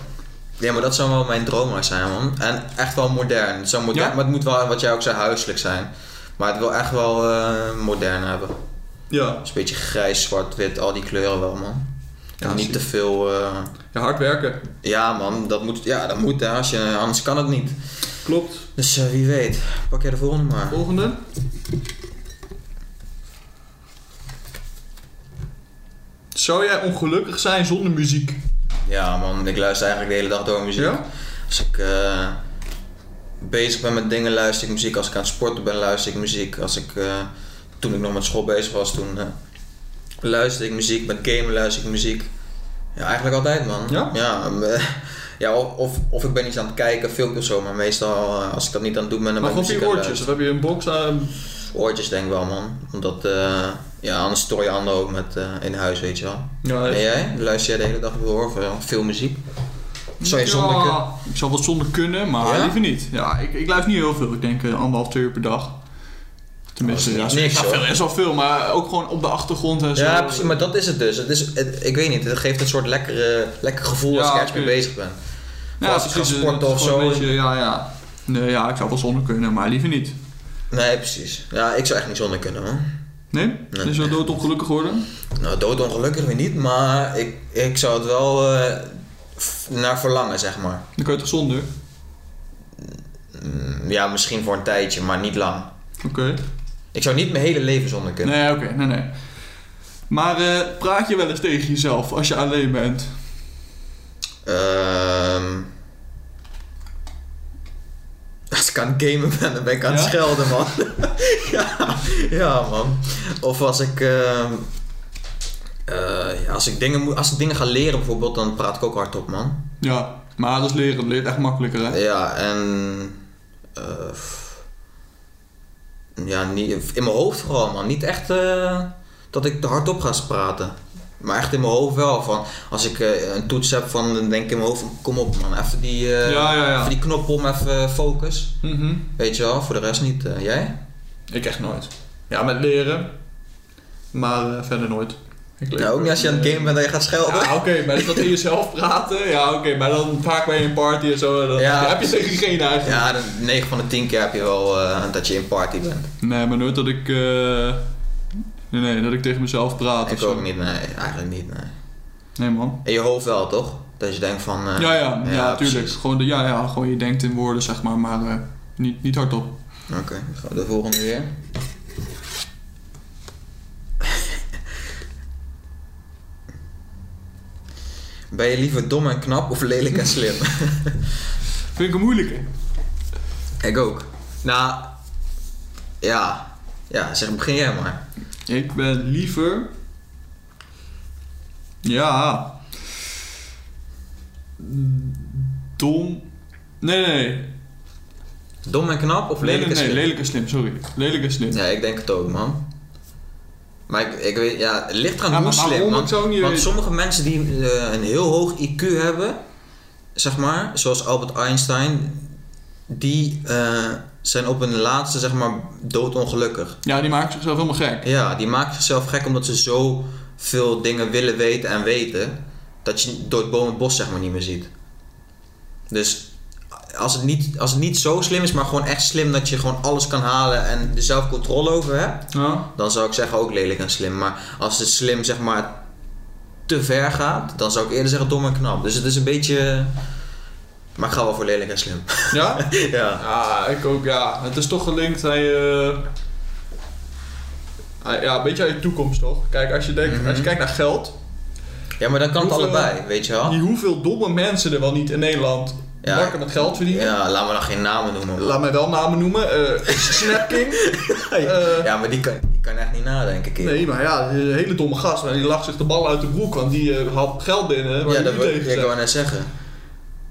Speaker 1: Ja, maar dat zou wel mijn droomhuis zijn man. En echt wel modern. Het zou modern
Speaker 2: Ja?
Speaker 1: Maar het moet wel, wat jij ook zei, huiselijk zijn. Maar het wil echt wel eh, modern hebben.
Speaker 2: Ja.
Speaker 1: Dus een beetje grijs, zwart, wit, al die kleuren wel man.
Speaker 2: Ja,
Speaker 1: en niet
Speaker 2: zie-
Speaker 1: te veel... eh,
Speaker 2: ja, hard werken.
Speaker 1: ja man, dat moet, ja, dat moet hè, als je, anders kan het niet.
Speaker 2: Klopt.
Speaker 1: Dus eh, wie weet, pak jij de volgende maar.
Speaker 2: Volgende. Zou jij ongelukkig zijn zonder muziek?
Speaker 1: Ja man, ik luister eigenlijk de hele dag door muziek.
Speaker 2: Ja?
Speaker 1: Als ik eh, bezig ben met dingen, luister ik muziek. Als ik aan het sporten ben, luister ik muziek. Als ik, eh, toen ik nog met school bezig was, toen eh, luister ik muziek. Met gamen luister ik muziek. Ja, eigenlijk altijd, man.
Speaker 2: Ja?
Speaker 1: Ja, eh, ja of, of, of ik ben iets aan het kijken, filmpje of zo. Maar meestal, eh, als ik dat niet aan het doen ben, dan
Speaker 2: Maar
Speaker 1: ben
Speaker 2: gewoon
Speaker 1: ik
Speaker 2: je
Speaker 1: muziek aan het
Speaker 2: oortjes? Of heb je een box eh, aan?
Speaker 1: luisteren. Oortjes denk ik wel, man. Omdat, eh, ja, anders stoor je anderen ook met, eh, in huis, weet je wel.
Speaker 2: Ja,
Speaker 1: En jij? Luister jij de hele dag door of eh, veel muziek? Zou je zonder
Speaker 2: Ja,
Speaker 1: kunnen?
Speaker 2: eh, Ik zou wel zonder kunnen, maar
Speaker 1: Ja?
Speaker 2: liever niet. Ja, ik, ik luister niet heel veel. Ik denk eh, anderhalf, twee uur per dag. Tenminste,
Speaker 1: Oh, Dat
Speaker 2: ja,
Speaker 1: is niks,
Speaker 2: ja,
Speaker 1: hoor.
Speaker 2: veel, is wel veel, maar ook gewoon op de achtergrond en zo.
Speaker 1: Ja, precies, maar dat is het dus. Het is, het- ik weet niet, het geeft een soort lekkere, lekker gevoel
Speaker 2: Ja,
Speaker 1: als ik ergens mee
Speaker 2: oké.
Speaker 1: bezig ben.
Speaker 2: ja,
Speaker 1: als ik ga
Speaker 2: precies, eh,
Speaker 1: sporten
Speaker 2: het is
Speaker 1: of
Speaker 2: gewoon
Speaker 1: zo.
Speaker 2: een beetje, ja, ja. Nee, ja, ik zou wel zonder kunnen, maar liever niet.
Speaker 1: Nee, precies. Ja, ik zou echt niet zonder kunnen hoor.
Speaker 2: Nee? Dus, eh,
Speaker 1: Nee.
Speaker 2: Is wel doodongelukkig geworden?
Speaker 1: Nou, doodongelukkig weer niet, maar ik, ik zou het wel eh, f- naar verlangen, zeg maar.
Speaker 2: Dan kun je toch zonder?
Speaker 1: Mm, Ja, misschien voor een tijdje, maar niet lang.
Speaker 2: Oké.
Speaker 1: Ik zou niet mijn hele leven zonder kunnen.
Speaker 2: Nee, oké, nee, nee. Maar eh, praat je wel eens tegen jezelf als je alleen bent?
Speaker 1: Ehm, als ik aan het gamen ben, dan ben ik aan het
Speaker 2: Ja?
Speaker 1: schelden, man. ja, ja, man. Of als ik, ehm, eh, ja, als ik, dingen, moet- als ik dingen ga leren bijvoorbeeld, dan praat ik ook hardop, man.
Speaker 2: Ja, maar dat is leren. Dat leert echt makkelijker, hè?
Speaker 1: Ja, en... eh, f- ja, niet, in mijn hoofd vooral, man. Niet echt eh, dat ik te hardop ga praten. Maar echt in mijn hoofd wel. Van, als ik eh, een toets heb, van, dan denk ik in mijn hoofd van... Kom op, man. Even die... eh,
Speaker 2: ja, ja, ja.
Speaker 1: Even die knop om, even focus.
Speaker 2: Mhm.
Speaker 1: Weet je wel, voor de rest niet. eh, jij?
Speaker 2: Ik echt nooit. Ja, met leren. Maar eh, verder nooit. Ik leer-
Speaker 1: Ja, Nou, ook niet als je aan het gamen bent dat je gaat
Speaker 2: Ja,
Speaker 1: schelden.
Speaker 2: oké, maar dat is dat in jezelf praten. Ja, oké, maar dan vaak bij een party en zo. Dan
Speaker 1: Ja.
Speaker 2: heb je tegen geen eigenlijk.
Speaker 1: Ja, 9 van de 10 keer heb je wel eh, dat je in party bent.
Speaker 2: Nee, maar nooit dat ik. eh, Nee, nee, dat ik tegen mezelf praat. of
Speaker 1: ik
Speaker 2: zo.
Speaker 1: ook niet, nee. Eigenlijk niet, nee.
Speaker 2: Nee, man.
Speaker 1: In je hoofd wel, toch? Dat je denkt van... eh,
Speaker 2: Ja, ja, ja, tuurlijk.
Speaker 1: precies.
Speaker 2: Gewoon, de, ja, ja, gewoon je denkt in woorden, zeg maar, maar eh, niet, niet hardop.
Speaker 1: Oké, dan gaan we de volgende weer. Ben je liever dom en knap of lelijk en slim?
Speaker 2: Vind ik een moeilijke.
Speaker 1: ik ook. Nou, ja. Ja, zeg, begin jij maar.
Speaker 2: Ik ben liever. Ja. Dom. Nee, nee, nee.
Speaker 1: Dom en knap of lelijk en
Speaker 2: nee, nee,
Speaker 1: slim?
Speaker 2: lelijk en slim, sorry. Lelijk en slim.
Speaker 1: Ja, ik denk het ook, man. Maar ik, ik weet, ja, het ligt eraan
Speaker 2: Ja,
Speaker 1: hoe
Speaker 2: maar
Speaker 1: slim,
Speaker 2: waarom?
Speaker 1: man.
Speaker 2: Ik zou het niet
Speaker 1: Want
Speaker 2: weten.
Speaker 1: sommige mensen die eh, een heel hoog IQ hebben, zeg maar, zoals Albert Einstein, die eh, zijn op hun laatste, zeg maar, doodongelukkig.
Speaker 2: Ja, die maakt zichzelf helemaal gek.
Speaker 1: Ja, die maken zichzelf gek omdat ze zo veel dingen willen weten en weten, dat je door het boom het bos, zeg maar, niet meer ziet. Dus als het, niet, als het niet zo slim is, maar gewoon echt slim dat je gewoon alles kan halen en er zelf controle over hebt,
Speaker 2: Ja.
Speaker 1: dan zou ik zeggen ook lelijk en slim. Maar als het slim zeg maar te ver gaat, dan zou ik eerder zeggen dom en knap. Dus het is een beetje. Maar ik ga wel voor lelijk en slim.
Speaker 2: Ja?
Speaker 1: ja.
Speaker 2: Ja, ik ook, ja. Het is toch gelinkt aan je. aan- Ja, een beetje aan je toekomst toch? Kijk, als je, denkt,
Speaker 1: Mhm.
Speaker 2: als je kijkt naar geld,
Speaker 1: ja, maar dan kan het
Speaker 2: Hoeveel- eh,
Speaker 1: allebei, weet je wel.
Speaker 2: die hoeveel domme mensen er wel niet in Nederland
Speaker 1: Ah. Ja.
Speaker 2: wakker met geld verdienen.
Speaker 1: Ja, laat me dan geen namen noemen.
Speaker 2: Laat mij wel namen noemen. eh Snapking. eh,
Speaker 1: ja, maar die kan, die kan echt niet nadenken, keer.
Speaker 2: Nee, maar ja, een hele domme gast. Maar die lag zich de bal uit de broek, want die eh, had geld binnen. Waar
Speaker 1: ja, dat
Speaker 2: ja, dat
Speaker 1: wil ik
Speaker 2: tegen
Speaker 1: ik wou
Speaker 2: zegt.
Speaker 1: net zeggen.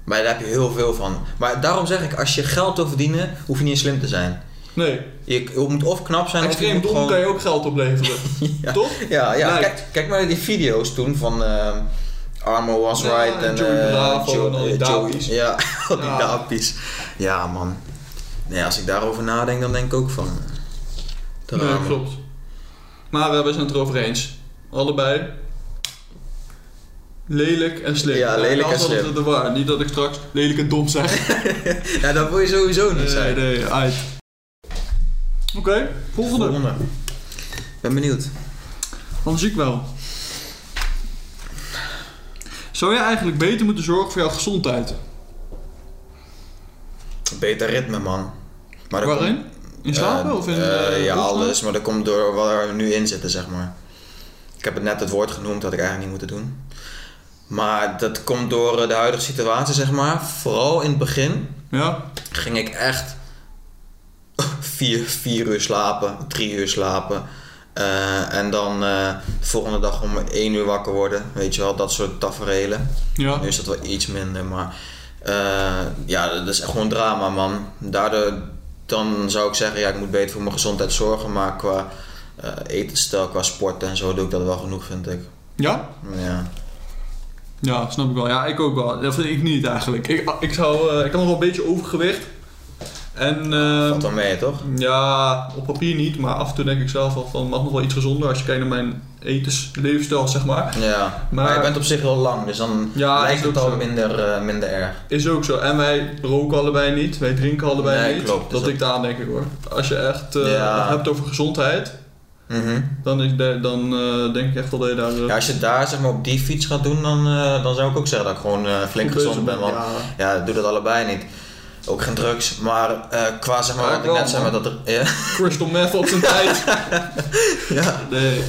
Speaker 1: Maar daar heb je heel veel van. Maar daarom zeg ik, als je geld wil verdienen, hoef je niet slim te zijn.
Speaker 2: Nee,
Speaker 1: Je, je moet of knap zijn of je
Speaker 2: extreem
Speaker 1: moet
Speaker 2: dom
Speaker 1: gewoon...
Speaker 2: kan je ook geld opleveren.
Speaker 1: Ja.
Speaker 2: Toch?
Speaker 1: Ja, ja.
Speaker 2: Lijkt.
Speaker 1: Kijk, kijk maar naar die video's toen van ehm Armo Was
Speaker 2: Ja,
Speaker 1: Right en
Speaker 2: Joey
Speaker 1: eh,
Speaker 2: Bravo
Speaker 1: Jo-
Speaker 2: en al die
Speaker 1: eh, Joey-
Speaker 2: dapies.
Speaker 1: Ja, al die
Speaker 2: Ja.
Speaker 1: dapies. Ja, man. Nee, als ik daarover nadenk, dan denk ik ook van. eh, de
Speaker 2: Nee,
Speaker 1: ramen.
Speaker 2: klopt. Maar eh, we zijn het erover eens. Allebei. Lelijk en slim.
Speaker 1: Ja, lelijk en
Speaker 2: Dat
Speaker 1: slim.
Speaker 2: is de waar. Niet dat ik straks lelijk en dom zeg.
Speaker 1: Ja, dat wil je sowieso niet
Speaker 2: Nee,
Speaker 1: zijn.
Speaker 2: nee, uit. Oké, volgende.
Speaker 1: Volgende. Ben benieuwd.
Speaker 2: Dan zie ik wel. Zou je eigenlijk beter moeten zorgen voor jouw gezondheid?
Speaker 1: Beter ritme, man. Maar dat
Speaker 2: Waarin?
Speaker 1: komt-
Speaker 2: In slapen
Speaker 1: eh,
Speaker 2: of in...
Speaker 1: eh,
Speaker 2: eh,
Speaker 1: ja,
Speaker 2: rust?
Speaker 1: alles. Maar dat komt door waar we nu in zitten, zeg maar. Ik heb het net het woord genoemd, dat ik eigenlijk niet moeten doen. Maar dat komt door eh, de huidige situatie, zeg maar. Vooral in het begin
Speaker 2: Ja,
Speaker 1: ging ik echt vier, vier uur slapen, drie uur slapen. Eh, en dan eh, de volgende dag om één uur wakker worden. Weet je wel, dat soort tafereelen.
Speaker 2: ja.
Speaker 1: Nu is dat wel iets minder, maar eh, ja, dat is echt gewoon drama, man. Daardoor dan zou ik zeggen, ja, ik moet beter voor mijn gezondheid zorgen, maar qua eh etensstijl, qua sport en zo doe ik dat wel genoeg, vind ik.
Speaker 2: Ja?
Speaker 1: Ja.
Speaker 2: Ja, snap ik wel. Ja, ik ook wel. Dat vind ik niet eigenlijk. Ik, ik, zou, eh, ik heb nog wel een beetje overgewicht. En eh,
Speaker 1: Valt wel mee, toch?
Speaker 2: ja, op papier niet, maar af en toe denk ik zelf al van mag nog wel iets gezonder als je kijkt naar mijn etensleefstijl, zeg maar.
Speaker 1: Ja. Maar,
Speaker 2: Maar-
Speaker 1: je bent op zich wel lang, dus dan
Speaker 2: Ja,
Speaker 1: lijkt
Speaker 2: is
Speaker 1: het
Speaker 2: ook
Speaker 1: al
Speaker 2: zo.
Speaker 1: minder, eh, minder erg.
Speaker 2: Is ook zo. En wij roken allebei niet, wij drinken allebei
Speaker 1: Nee,
Speaker 2: niet.
Speaker 1: klopt,
Speaker 2: dat
Speaker 1: is
Speaker 2: ik daar denk ik hoor. Als je echt eh,
Speaker 1: Ja.
Speaker 2: hebt over gezondheid,
Speaker 1: Mhm.
Speaker 2: dan, is de- dan eh, denk ik echt wel dat je daar. eh,
Speaker 1: Ja, als je daar zeg maar, op die fiets gaat doen, dan, eh, dan zou ik ook zeggen dat ik gewoon eh, flink
Speaker 2: goed
Speaker 1: gezond
Speaker 2: bezig
Speaker 1: ben. Want
Speaker 2: Ja.
Speaker 1: ja, doe dat allebei niet. Ook geen drugs, maar eh, qua zeg maar
Speaker 2: Ja,
Speaker 1: wat ik
Speaker 2: wel,
Speaker 1: net zei met
Speaker 2: man.
Speaker 1: dat... er- Ja,
Speaker 2: Crystal meth op zijn tijd.
Speaker 1: ja.
Speaker 2: Nee.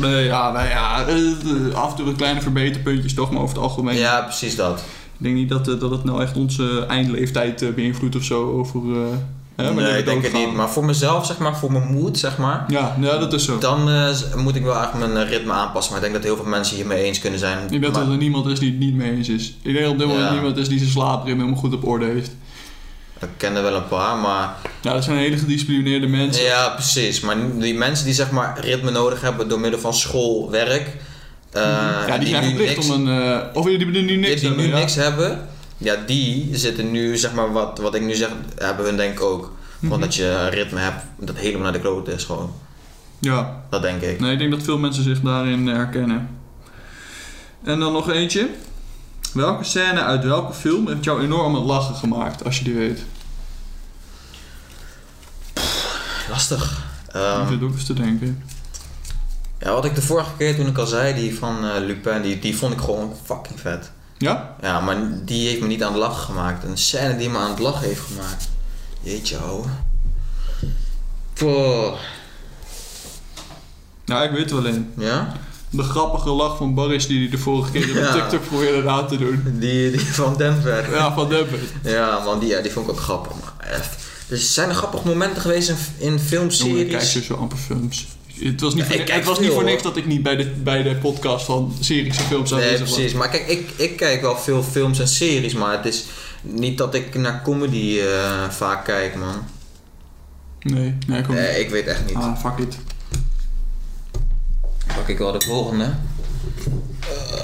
Speaker 2: Nee, ja, nou ja, eh, af en toe wat kleine verbeterpuntjes toch, maar over het algemeen.
Speaker 1: ja, precies dat.
Speaker 2: Ik denk niet dat, eh, dat het nou echt onze eindleeftijd eh, beïnvloedt of zo over... eh, hè, wanneer
Speaker 1: nee,
Speaker 2: we
Speaker 1: ik denk het
Speaker 2: doodgaan.
Speaker 1: niet. Maar voor mezelf, zeg maar, voor mijn moed, zeg maar...
Speaker 2: Ja, ja, dat is zo.
Speaker 1: Dan eh, z- moet ik wel eigenlijk mijn eh, ritme aanpassen. Maar ik denk dat heel veel mensen hiermee eens kunnen zijn.
Speaker 2: Ik denk
Speaker 1: Maar-
Speaker 2: dat er niemand is die het niet mee eens is. Ik denk dat op dit moment
Speaker 1: Ja.
Speaker 2: niemand is die zijn slaapritme helemaal goed op orde heeft.
Speaker 1: Ik ken er wel een paar, maar...
Speaker 2: Ja, dat zijn hele gedisciplineerde mensen.
Speaker 1: Ja, precies. Maar die mensen die zeg maar ritme nodig hebben door middel van school, werk... eh,
Speaker 2: Mhm. Ja, die, zijn
Speaker 1: nu
Speaker 2: verplicht
Speaker 1: niks-
Speaker 2: om een... eh, of die die nu niks
Speaker 1: die
Speaker 2: hebben,
Speaker 1: nu
Speaker 2: ja.
Speaker 1: niks hebben, ja, die zitten nu, zeg maar, wat, wat ik nu zeg, hebben hun denk ik ook. Gewoon
Speaker 2: Mhm.
Speaker 1: dat je een ritme hebt dat helemaal naar de klote is, gewoon.
Speaker 2: Ja,
Speaker 1: Dat denk ik.
Speaker 2: nee, ik denk dat veel mensen zich daarin herkennen. En dan nog eentje. Welke scène uit welke film heeft jou enorm het lachen gemaakt, als je die weet?
Speaker 1: Lastig. Ehm,
Speaker 2: ik zit ook eens te denken.
Speaker 1: ja, wat ik de vorige keer toen ik al zei, die van eh, Lupin, die, die vond ik gewoon fucking vet.
Speaker 2: Ja?
Speaker 1: Ja, maar die heeft me niet aan het lachen gemaakt. Een scène die me aan het lachen heeft gemaakt. Jeetje, ouwe. Poh.
Speaker 2: Ja, ik weet er wel een.
Speaker 1: Ja?
Speaker 2: De grappige lach van Baris die hij de vorige keer op
Speaker 1: Ja.
Speaker 2: TikTok probeerde na te doen.
Speaker 1: Die, die van Denver.
Speaker 2: Ja, van Debbie.
Speaker 1: Ja, man, die, ja, die vond ik ook grappig. Maar echt. Dus zijn er grappige momenten geweest in, in
Speaker 2: Jongen, ik kijk
Speaker 1: filmseries?
Speaker 2: dus zo amper films. Het was niet,
Speaker 1: Ja,
Speaker 2: voor,
Speaker 1: ik
Speaker 2: ni-
Speaker 1: kijk
Speaker 2: het was
Speaker 1: veel,
Speaker 2: niet voor
Speaker 1: hoor.
Speaker 2: niks dat ik niet bij de, bij de podcast van series en films
Speaker 1: Nee,
Speaker 2: aanwezig was.
Speaker 1: precies. Maar kijk, ik, ik kijk wel veel films en series, maar het is niet dat ik naar comedy eh, vaak kijk, man.
Speaker 2: Nee, nee, kom
Speaker 1: Nee, ik weet echt niet.
Speaker 2: Ah, fuck it.
Speaker 1: Pak ik wel de volgende.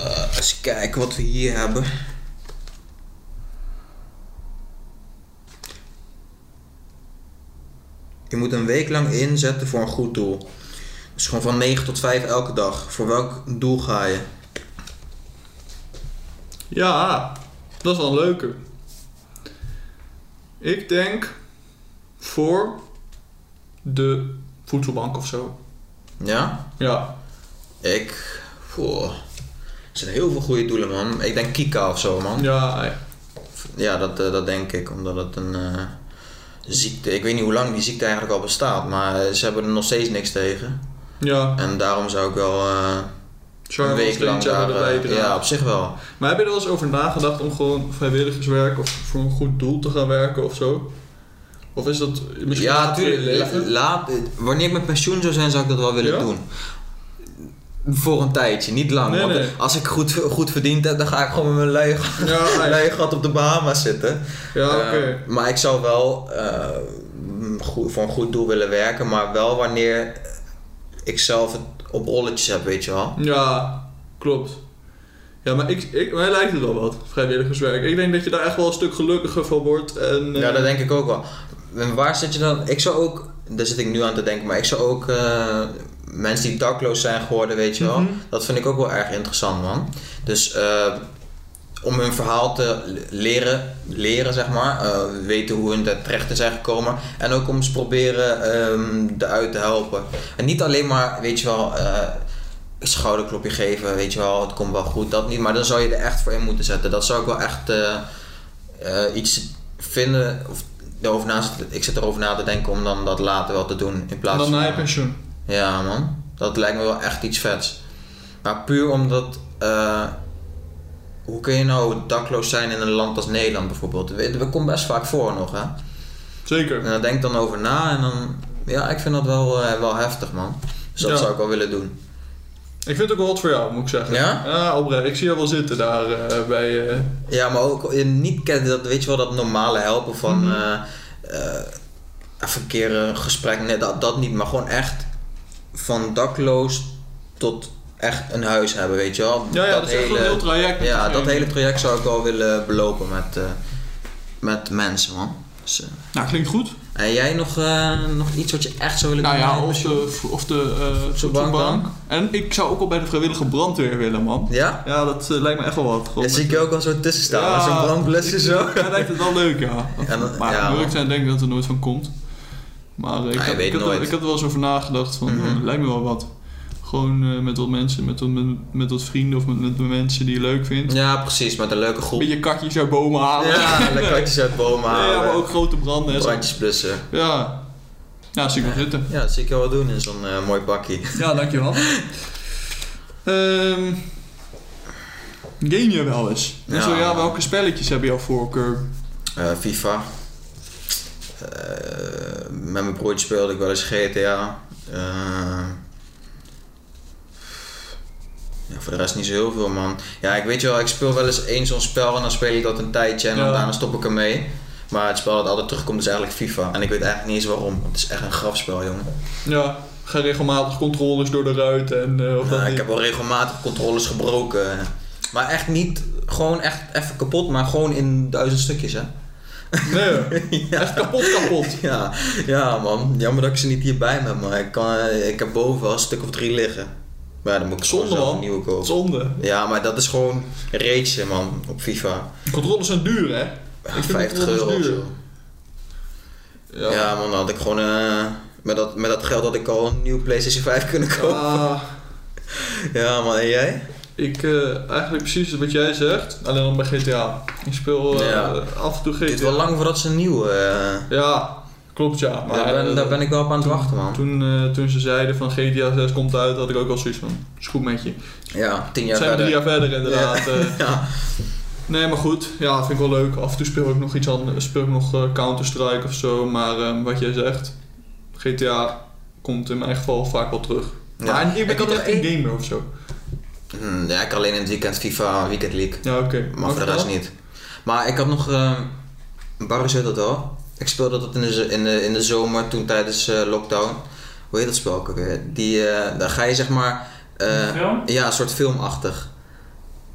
Speaker 1: Eh, eens kijken wat we hier hebben. Je moet een week lang inzetten voor een goed doel. Dus gewoon van 9 tot 5 elke dag. Voor welk doel ga je?
Speaker 2: Ja, dat is wel een leuke. Ik denk voor de voedselbank of zo.
Speaker 1: Ja?
Speaker 2: Ja.
Speaker 1: Ik. Voor. Er zijn heel veel goede doelen, man. Ik denk Kika of zo, man.
Speaker 2: Ja,
Speaker 1: Ja, dat, eh, dat denk ik, omdat het een eh, ziekte. Ik weet niet hoe lang die ziekte eigenlijk al bestaat, maar eh, ze hebben er nog steeds niks tegen.
Speaker 2: ja.
Speaker 1: En daarom zou ik wel eh, een
Speaker 2: Charles
Speaker 1: week lang daar. eh, ja, op zich wel.
Speaker 2: Maar heb je er wel eens over nagedacht om gewoon vrijwilligerswerk of voor een goed doel te gaan werken of zo? Of is dat misschien
Speaker 1: ja,
Speaker 2: later in je
Speaker 1: tuurlijk. La-
Speaker 2: leven?
Speaker 1: laat, eh, wanneer ik met pensioen zou zijn, zou ik dat wel willen
Speaker 2: Ja?
Speaker 1: doen. Voor een tijdje, niet lang.
Speaker 2: Nee,
Speaker 1: want
Speaker 2: nee.
Speaker 1: als ik goed, goed verdiend heb, dan ga ik gewoon met mijn lui,
Speaker 2: Ja, ja,
Speaker 1: lui gat op de Bahamas zitten.
Speaker 2: ja oké.
Speaker 1: Eh, maar ik zou wel eh, m, goe- voor een goed doel willen werken, maar wel wanneer ik zelf het op rolletjes heb, weet je wel.
Speaker 2: Ja, klopt. Ja, maar ik, ik, mij lijkt het wel wat, vrijwilligerswerk. Ik denk dat je daar echt wel een stuk gelukkiger van wordt. En, eh,
Speaker 1: Ja, dat denk ik ook wel. En waar zit je dan? Ik zou ook, daar zit ik nu aan te denken, maar ik zou ook eh, mensen die dakloos zijn geworden, weet je wel.
Speaker 2: Mhm.
Speaker 1: Dat vind ik ook wel erg interessant, man. Dus eh, om hun verhaal te l- leren, leren zeg maar, eh, weten hoe hun daar terecht in zijn gekomen. En ook om ze proberen ehm eruit te helpen. En niet alleen maar, weet je wel, eh, een schouderklopje geven, weet je wel, het komt wel goed, dat niet. Maar dan zou je er echt voor in moeten zetten. Dat zou ik wel echt eh, eh, iets vinden, of erover na, zitten- ik zit erover na te denken om dan dat later wel te doen. In
Speaker 2: en
Speaker 1: plaats
Speaker 2: dan
Speaker 1: van...
Speaker 2: na je pensioen.
Speaker 1: Ja, man. Dat lijkt me wel echt iets vets. Maar puur omdat. eh, hoe kun je nou dakloos zijn in een land als Nederland bijvoorbeeld? We, we komt best vaak voor nog, hè?
Speaker 2: Zeker.
Speaker 1: En daar denk ik dan over na en dan. Ja, ik vind dat wel, eh, wel heftig, man. Dus dat
Speaker 2: Ja.
Speaker 1: zou ik wel willen doen.
Speaker 2: Ik vind het ook wel wat voor jou, moet ik zeggen.
Speaker 1: Ja?
Speaker 2: Ja, oprecht. Ik zie jou wel zitten daar eh, bij... eh,
Speaker 1: Ja, maar ook eh, niet kennen, dat, weet je wel, dat normale helpen van.
Speaker 2: Mhm.
Speaker 1: eh, eh, even een keer een gesprek, nee, dat, dat niet, maar gewoon echt van dakloos tot echt een huis hebben, weet je wel.
Speaker 2: ja, ja, dat, is echt wel een heel traject.
Speaker 1: Ja,
Speaker 2: natuurlijk.
Speaker 1: dat hele traject zou ik wel willen belopen met, eh, met mensen, man. Dus, eh,
Speaker 2: Nou, klinkt goed.
Speaker 1: en jij nog, eh, nog iets wat je echt zou willen
Speaker 2: Nou
Speaker 1: doen?
Speaker 2: ja, of de, of de eh,
Speaker 1: Voedselbank dan?
Speaker 2: voedselbank. En ik zou ook al bij de vrijwillige brandweer willen, man.
Speaker 1: Ja?
Speaker 2: Ja, dat eh, lijkt me echt wel wat. Gewoon
Speaker 1: Ja,
Speaker 2: met-
Speaker 1: zie ik je ook wel zo tussen staan, met zo'n brandblusje
Speaker 2: ik-
Speaker 1: zo.
Speaker 2: Ja, lijkt het wel leuk, ja.
Speaker 1: Ja, dat-
Speaker 2: maar
Speaker 1: ja,
Speaker 2: ja,
Speaker 1: man.
Speaker 2: moet zijn, denk ik dat er nooit van komt. Maar eh, ik,
Speaker 1: Ja, je
Speaker 2: had,
Speaker 1: weet
Speaker 2: ik, had er,
Speaker 1: nooit.
Speaker 2: ik had er wel eens over nagedacht van,
Speaker 1: Mhm.
Speaker 2: eh, lijkt me wel wat. Gewoon eh, met wat mensen, met wat, met, met wat vrienden of met, met mensen die je leuk vindt.
Speaker 1: Ja, precies, met een leuke
Speaker 2: Een
Speaker 1: groep.
Speaker 2: beetje kakjes uit bomen halen.
Speaker 1: Ja, lekker katjes uit bomen
Speaker 2: Ja,
Speaker 1: halen.
Speaker 2: maar ook grote branden en zo.
Speaker 1: Brandjes blussen.
Speaker 2: Ja. Ja, dat zie ik wel zitten.
Speaker 1: Ja, dat zie ik je wel doen in zo'n eh, mooi bakkie.
Speaker 2: Ja, dankjewel. Ehm game je wel eens? En zo
Speaker 1: Ja.
Speaker 2: ja, welke spelletjes heb je al voorkeur?
Speaker 1: Eh, FIFA. Eh, met mijn broertje speelde ik wel eens GTA. Eh, ja, voor de rest niet zo heel veel, man. Ja, ik weet je wel, ik speel wel eens één zo'n spel en dan speel ik dat een tijdje en dan
Speaker 2: Ja.
Speaker 1: daarna stop ik ermee. Maar het spel dat altijd terugkomt is eigenlijk FIFA. En ik weet eigenlijk niet eens waarom. Het is echt een grafspel, jongen.
Speaker 2: Ja, ga regelmatig controles door de ruit en eh, of dat
Speaker 1: Nou, ik
Speaker 2: niet.
Speaker 1: heb wel regelmatig controles gebroken. Maar echt niet gewoon echt even kapot, maar gewoon in duizend stukjes, hè?
Speaker 2: Nee,
Speaker 1: ja.
Speaker 2: echt kapot kapot.
Speaker 1: Ja, ja, man. Jammer dat ik ze niet hierbij heb, maar ik, kan, eh, ik heb boven wel een stuk of drie liggen. Maar ja, dan moet ik
Speaker 2: Zonde,
Speaker 1: gewoon zelf
Speaker 2: man.
Speaker 1: een nieuwe kopen.
Speaker 2: Zonde.
Speaker 1: Ja, maar dat is gewoon rage, man, op FIFA.
Speaker 2: Controles zijn duur, hè?
Speaker 1: Ja,
Speaker 2: vind
Speaker 1: 50
Speaker 2: controles
Speaker 1: euro of
Speaker 2: duur.
Speaker 1: zo. Ja. man, dan had ik gewoon... eh, met, dat, met dat geld had ik al een nieuwe PlayStation 5 kunnen kopen.
Speaker 2: Ah,
Speaker 1: Ja, man. En jij?
Speaker 2: ik, eh, eigenlijk precies wat jij zegt, alleen dan bij GTA. Ik speel eh,
Speaker 1: Ja.
Speaker 2: af en toe GTA.
Speaker 1: Het is wel lang voordat ze een nieuwe... eh,
Speaker 2: Ja, klopt ja. Maar, eh,
Speaker 1: daar, ben, daar ben ik wel op aan het wachten, man.
Speaker 2: Toen, eh, toen ze zeiden van GTA 6 komt uit, had ik ook al zoiets van, is goed met je.
Speaker 1: Ja, tien jaar
Speaker 2: Zijn
Speaker 1: verder.
Speaker 2: we drie jaar verder inderdaad. eh.
Speaker 1: Ja.
Speaker 2: nee, maar goed. Ja, vind ik wel leuk. Af en toe speel ik nog iets anders. Speel ik nog eh, Counter-Strike of zo. Maar ehm, wat jij zegt, GTA komt in mijn geval vaak wel terug.
Speaker 1: Ja.
Speaker 2: Maar ik ben
Speaker 1: Ik had
Speaker 2: niet
Speaker 1: er
Speaker 2: echt een
Speaker 1: één-
Speaker 2: gamer of zo.
Speaker 1: Hm, ja, ik alleen in het weekend FIFA, Weekend League.
Speaker 2: Ja, oké.
Speaker 1: Maar voor de rest niet. Maar ik had nog... eh Barry zei dat al. Ik speelde dat in de, z- in de, in de zomer toen tijdens eh, lockdown. Hoe heet dat spel ook alweer? Die, eh, daar ga je zeg maar... eh,
Speaker 3: film?
Speaker 1: ja, een soort filmachtig.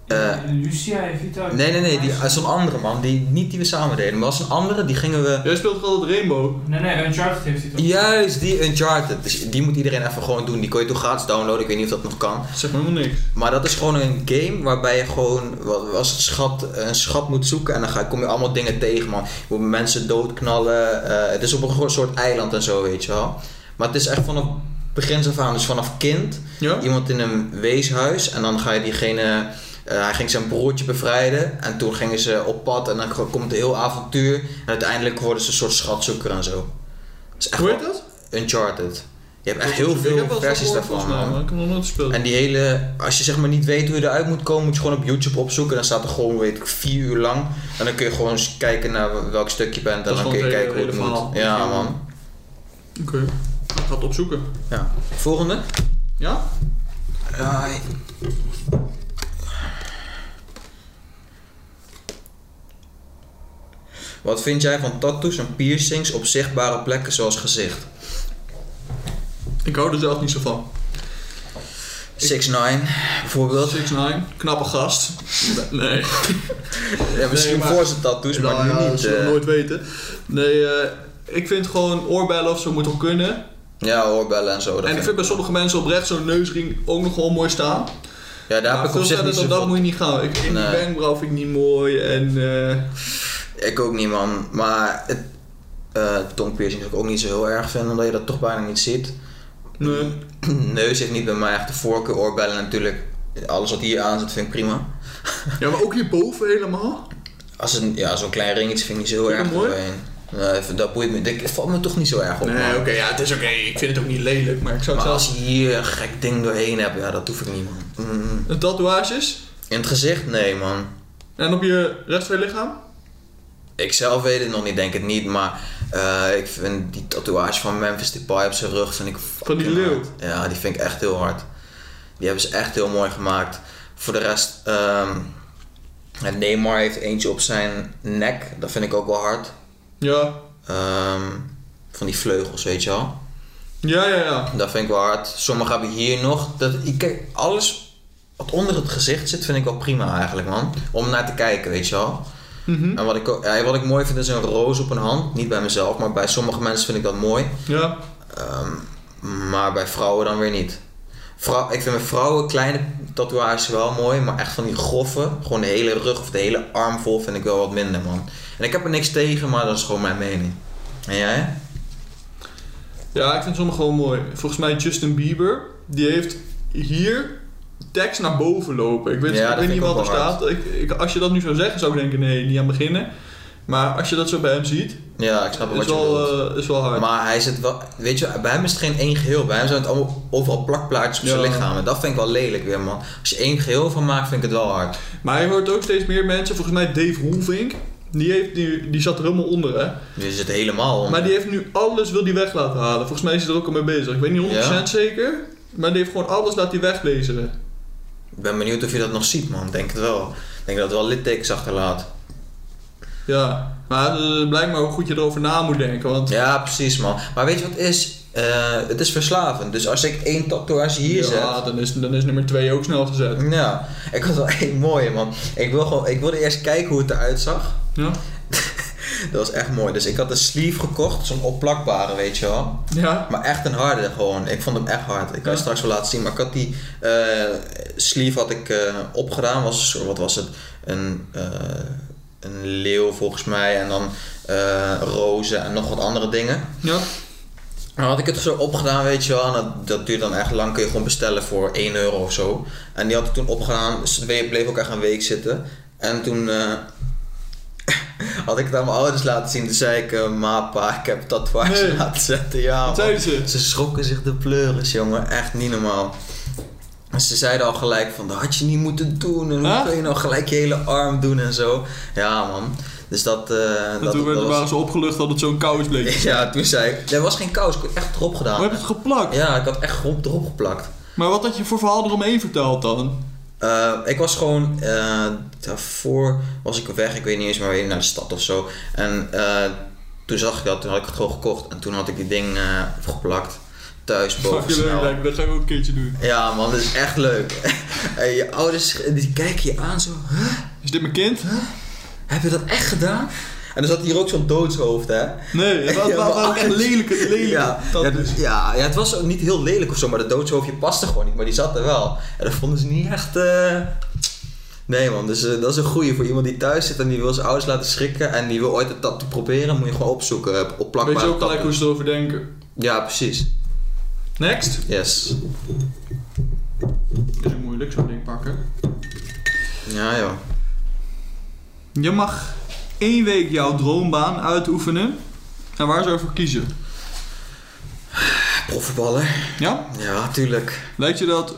Speaker 1: eh,
Speaker 3: Lucia en Vita.
Speaker 1: Nee, nee, nee. Die, eh, zo'n andere man. Die, niet die we samen deden. Maar was een andere. Die gingen we...
Speaker 2: Jij speelt toch altijd Rainbow?
Speaker 3: Nee, nee, Uncharted heeft hij toch?
Speaker 1: Juist, die Uncharted. Dus die moet iedereen even gewoon doen. Die kon je toen gratis downloaden. Ik weet niet of dat nog kan.
Speaker 2: Zeg maar helemaal niks.
Speaker 1: Maar dat is gewoon een game waarbij je gewoon wa- als het schat, een schat moet zoeken en dan ga, kom je allemaal dingen tegen, man. Je moet mensen doodknallen. eh, het is op een gewoon soort eiland en zo, weet je wel. Maar het is echt vanaf begin af aan, dus vanaf kind.
Speaker 2: Ja?
Speaker 1: Iemand in een weeshuis en dan ga je diegene. eh, hij ging zijn broertje bevrijden en toen gingen ze op pad en dan ko- komt een heel avontuur. En uiteindelijk worden ze een soort schatzoeker en zo. Het is echt
Speaker 2: Hoe heet
Speaker 1: wel-
Speaker 2: dat?
Speaker 1: Uncharted. Je hebt echt
Speaker 2: Ik
Speaker 1: heel
Speaker 2: heb wel eens
Speaker 1: veel
Speaker 2: wat
Speaker 1: versies
Speaker 2: gehoord,
Speaker 1: daarvan,
Speaker 2: volgens mij,
Speaker 1: man.
Speaker 2: maar Ik heb nog nooit gespeeld.
Speaker 1: En die hele, als je zeg maar niet weet hoe je eruit moet komen, moet je gewoon op YouTube opzoeken. Dan staat er gewoon, weet ik, vier uur lang. En dan kun je gewoon eens kijken naar welk stuk je bent.
Speaker 2: Dat
Speaker 1: En
Speaker 2: is
Speaker 1: dan
Speaker 2: gewoon
Speaker 1: kun je
Speaker 2: het hele-
Speaker 1: kijken hoe het
Speaker 2: hele
Speaker 1: moet.
Speaker 2: verhaal.
Speaker 1: Ja, man.
Speaker 2: Oké. Ik ga het opzoeken.
Speaker 1: Ja. Volgende.
Speaker 2: Ja?
Speaker 1: Ja. Wat vind jij van tattoos en piercings op zichtbare plekken zoals gezicht?
Speaker 2: Ik hou er zelf niet zo van.
Speaker 1: 6 9 bijvoorbeeld.
Speaker 2: 6ix9ine, knappe gast. Nee.
Speaker 1: Ja, misschien
Speaker 2: maar-
Speaker 1: voor zijn tattoos, maar
Speaker 2: Nou
Speaker 1: nu
Speaker 2: ja, Dat
Speaker 1: niet.
Speaker 2: zullen we
Speaker 1: eh.
Speaker 2: nooit weten. Nee, eh, ik vind gewoon oorbellen of zo moet wel kunnen.
Speaker 1: Ja, oorbellen en zo. dat
Speaker 2: en ik
Speaker 1: vind
Speaker 2: vind bij sommige mensen oprecht zo'n neusring ook nog wel mooi staan.
Speaker 1: Ja, daar
Speaker 2: Maar
Speaker 1: heb ik
Speaker 2: veel
Speaker 1: op zich
Speaker 2: verder
Speaker 1: niet
Speaker 2: dan dat
Speaker 1: zoveel
Speaker 2: moet je niet gaan. Ik, in
Speaker 1: Nee.
Speaker 2: die wenkbrauw vind ik niet mooi en... eh,
Speaker 1: Ik ook niet, man. Maar het, eh tongpiercing zou ik ook niet zo heel erg vinden, omdat je dat toch bijna niet ziet.
Speaker 2: nee.
Speaker 1: Neus heeft niet bij mij echt de voorkeur. Oorbellen natuurlijk. Alles wat hier aan zit vind ik prima.
Speaker 2: Ja, maar ook hierboven helemaal.
Speaker 1: Als een, ja, zo'n klein ringetje vind ik niet zo heel
Speaker 2: Vind
Speaker 1: erg
Speaker 2: je dat mooi?
Speaker 1: doorheen. Nee, dat boeit me. Dat valt me toch niet zo erg op. man.
Speaker 2: Nee, oké, ja, het is oké. Ik vind het ook niet lelijk, maar ik zou
Speaker 1: Maar
Speaker 2: het
Speaker 1: als
Speaker 2: zelfs...
Speaker 1: je hier een gek ding doorheen hebt, ja, dat hoef ik niet, man. Mm.
Speaker 2: Tatoeages?
Speaker 1: In het gezicht? Nee, man.
Speaker 2: En op je rest van je lichaam?
Speaker 1: Ik zelf weet het nog niet, denk het niet, maar eh, ik vind die tatoeage van Memphis Depay op zijn rug vind ik
Speaker 2: Van die
Speaker 1: fucking
Speaker 2: leeuw.
Speaker 1: hard. Ja, die vind ik echt heel hard. Die hebben ze echt heel mooi gemaakt. Voor de rest, ehm, en Neymar heeft eentje op zijn nek, dat vind ik ook wel hard.
Speaker 2: Ja.
Speaker 1: Ehm, van die vleugels, weet je wel.
Speaker 2: Ja, ja, ja.
Speaker 1: Dat vind ik wel hard. Sommige hebben hier nog. Dat, ik, kijk, alles wat onder het gezicht zit, vind ik wel prima eigenlijk, man. Om naar te kijken, weet je wel.
Speaker 2: Mhm.
Speaker 1: En wat ik, ook- ja, wat ik mooi vind is een roos op een hand. Niet bij mezelf, maar bij sommige mensen vind ik dat mooi.
Speaker 2: Ja.
Speaker 1: Ehm, maar bij vrouwen dan weer niet. Vrou- ik vind bij vrouwen kleine tatoeages wel mooi, maar echt van die grove, gewoon de hele rug of de hele arm vol vind ik wel wat minder, man. En ik heb er niks tegen, maar dat is gewoon mijn mening. En jij?
Speaker 2: Ja, ik vind sommige wel mooi. Volgens mij Justin Bieber, die heeft hier tekst naar boven lopen. Ik weet,
Speaker 1: Ja, dat
Speaker 2: ik weet
Speaker 1: vind
Speaker 2: niet
Speaker 1: ik ook
Speaker 2: wat er
Speaker 1: wel hard.
Speaker 2: staat. Ik, ik, als je dat nu zou zeggen, zou ik denken, nee, niet aan beginnen. Maar als je dat zo bij hem ziet,
Speaker 1: Ja, ik snap wel
Speaker 2: is
Speaker 1: wat je bedoelt.
Speaker 2: wel, eh, is wel hard.
Speaker 1: Maar hij zit wel, weet je, bij hem is het geen één geheel. Bij hem zijn het allemaal overal plakplaatjes op zijn
Speaker 2: Ja.
Speaker 1: lichaam. En dat vind ik wel lelijk weer, man. Als je één geheel van maakt, vind ik het wel hard.
Speaker 2: Maar je hoort ook steeds meer mensen, volgens mij Dave Roelvink, die, heeft, die, die zat er helemaal onder, hè.
Speaker 1: Dus je zit helemaal onder.
Speaker 2: Maar die heeft nu alles wil die weg laten halen. Volgens mij is hij er ook al mee bezig. Ik weet niet 100%
Speaker 1: Ja.
Speaker 2: zeker, maar die heeft gewoon alles laten wegbezeren.
Speaker 1: Ik ben benieuwd of je dat nog ziet, man. Denk het wel. Ik denk dat het wel littekens achterlaat.
Speaker 2: Ja, maar eh, blijkbaar hoe goed je erover na moet denken, want...
Speaker 1: Ja, precies, man. Maar weet je wat het is? Eh, het is verslavend. Dus als ik één tatoeage hier zet...
Speaker 2: ja, dan is, dan is nummer 2 ook snel gezet.
Speaker 1: Ja, ik had wel één mooie, man. Ik, wil gewoon, ik wilde eerst kijken hoe het eruit zag.
Speaker 2: Ja?
Speaker 1: Dat was echt mooi. Dus ik had een sleeve gekocht, zo'n opplakbare, weet je wel.
Speaker 2: Ja.
Speaker 1: Maar echt een harde gewoon. Ik vond hem echt hard. Ik kan je
Speaker 2: Ja.
Speaker 1: straks wel laten zien. Maar ik had die eh, sleeve had ik eh, opgedaan. Was, wat was het? Een, eh, een leeuw volgens mij. En dan eh, rozen en nog wat andere dingen.
Speaker 2: Ja.
Speaker 1: Dan had ik het zo opgedaan, weet je wel. En dat, dat duurt dan echt lang. Kun je gewoon bestellen voor 1 euro of zo. En die had ik toen opgedaan. Dus het bleef ook echt een week zitten. En toen eh, had ik het aan mijn ouders laten zien. Toen zei ik, eh, ma, pa, ik heb tatoeage
Speaker 2: Nee.
Speaker 1: laten zetten. Ja,
Speaker 2: Wat
Speaker 1: man.
Speaker 2: zeiden ze?
Speaker 1: Ze schrokken zich de pleuris, jongen. Echt niet normaal. En ze zeiden al gelijk van, dat had je niet moeten doen. En hoe
Speaker 2: Huh?
Speaker 1: kun je nou gelijk je hele arm doen en zo. Ja, man. Dus dat... eh,
Speaker 2: En toen werd,
Speaker 1: was-
Speaker 2: waren ze opgelucht dat het zo'n kous bleek.
Speaker 1: Ja, toen zei ik... Er was geen kous, ik heb echt erop
Speaker 2: We
Speaker 1: gedaan.
Speaker 2: hebben het geplakt.
Speaker 1: Ja, ik had echt grond erop geplakt.
Speaker 2: Maar wat had je voor verhaal eromheen verteld dan?
Speaker 1: Eh, ik was gewoon... eh, daarvoor was ik weg, ik weet niet eens meer waarheen, naar de stad of zo. En eh, toen zag ik dat, toen had ik het gewoon gekocht. En toen had ik die ding eh, geplakt. Thuis, boven
Speaker 2: Fuck je leuk
Speaker 1: snel.
Speaker 2: lijkt me, dat ga ik ook een keertje doen.
Speaker 1: Ja man, dat is echt leuk. En je ouders die kijken je aan zo, "Huh?
Speaker 2: Is dit mijn kind?
Speaker 1: heb je dat echt gedaan? En dan zat hier ook zo'n doodshoofd hè.
Speaker 2: Nee, het was,
Speaker 1: Ja,
Speaker 2: was- was
Speaker 1: maar-
Speaker 2: echt lelijk, lelijk.
Speaker 1: Ja,
Speaker 2: Dat
Speaker 1: ja,
Speaker 2: is-
Speaker 1: dus- ja, ja, het was ook niet heel lelijk of zo, maar dat doodshoofdje paste gewoon niet. Maar die zat er wel. En dat vonden ze niet echt... eh, Nee man, dus eh, dat is een goeie voor iemand die thuis zit en die wil zijn ouders laten schrikken en die wil ooit een tattoo proberen, moet je gewoon opzoeken eh, op plakbare
Speaker 2: Weet je ook gelijk
Speaker 1: tattoo.
Speaker 2: hoe ze erover denken.
Speaker 1: Ja, precies.
Speaker 2: Next.
Speaker 1: Yes.
Speaker 2: Is ook moeilijk zo'n ding pakken.
Speaker 1: Ja joh.
Speaker 2: Je mag één week jouw droombaan uitoefenen. En waar zou je voor kiezen?
Speaker 1: Profvoetballer.
Speaker 2: Ja?
Speaker 1: Ja, tuurlijk.
Speaker 2: Lijkt je dat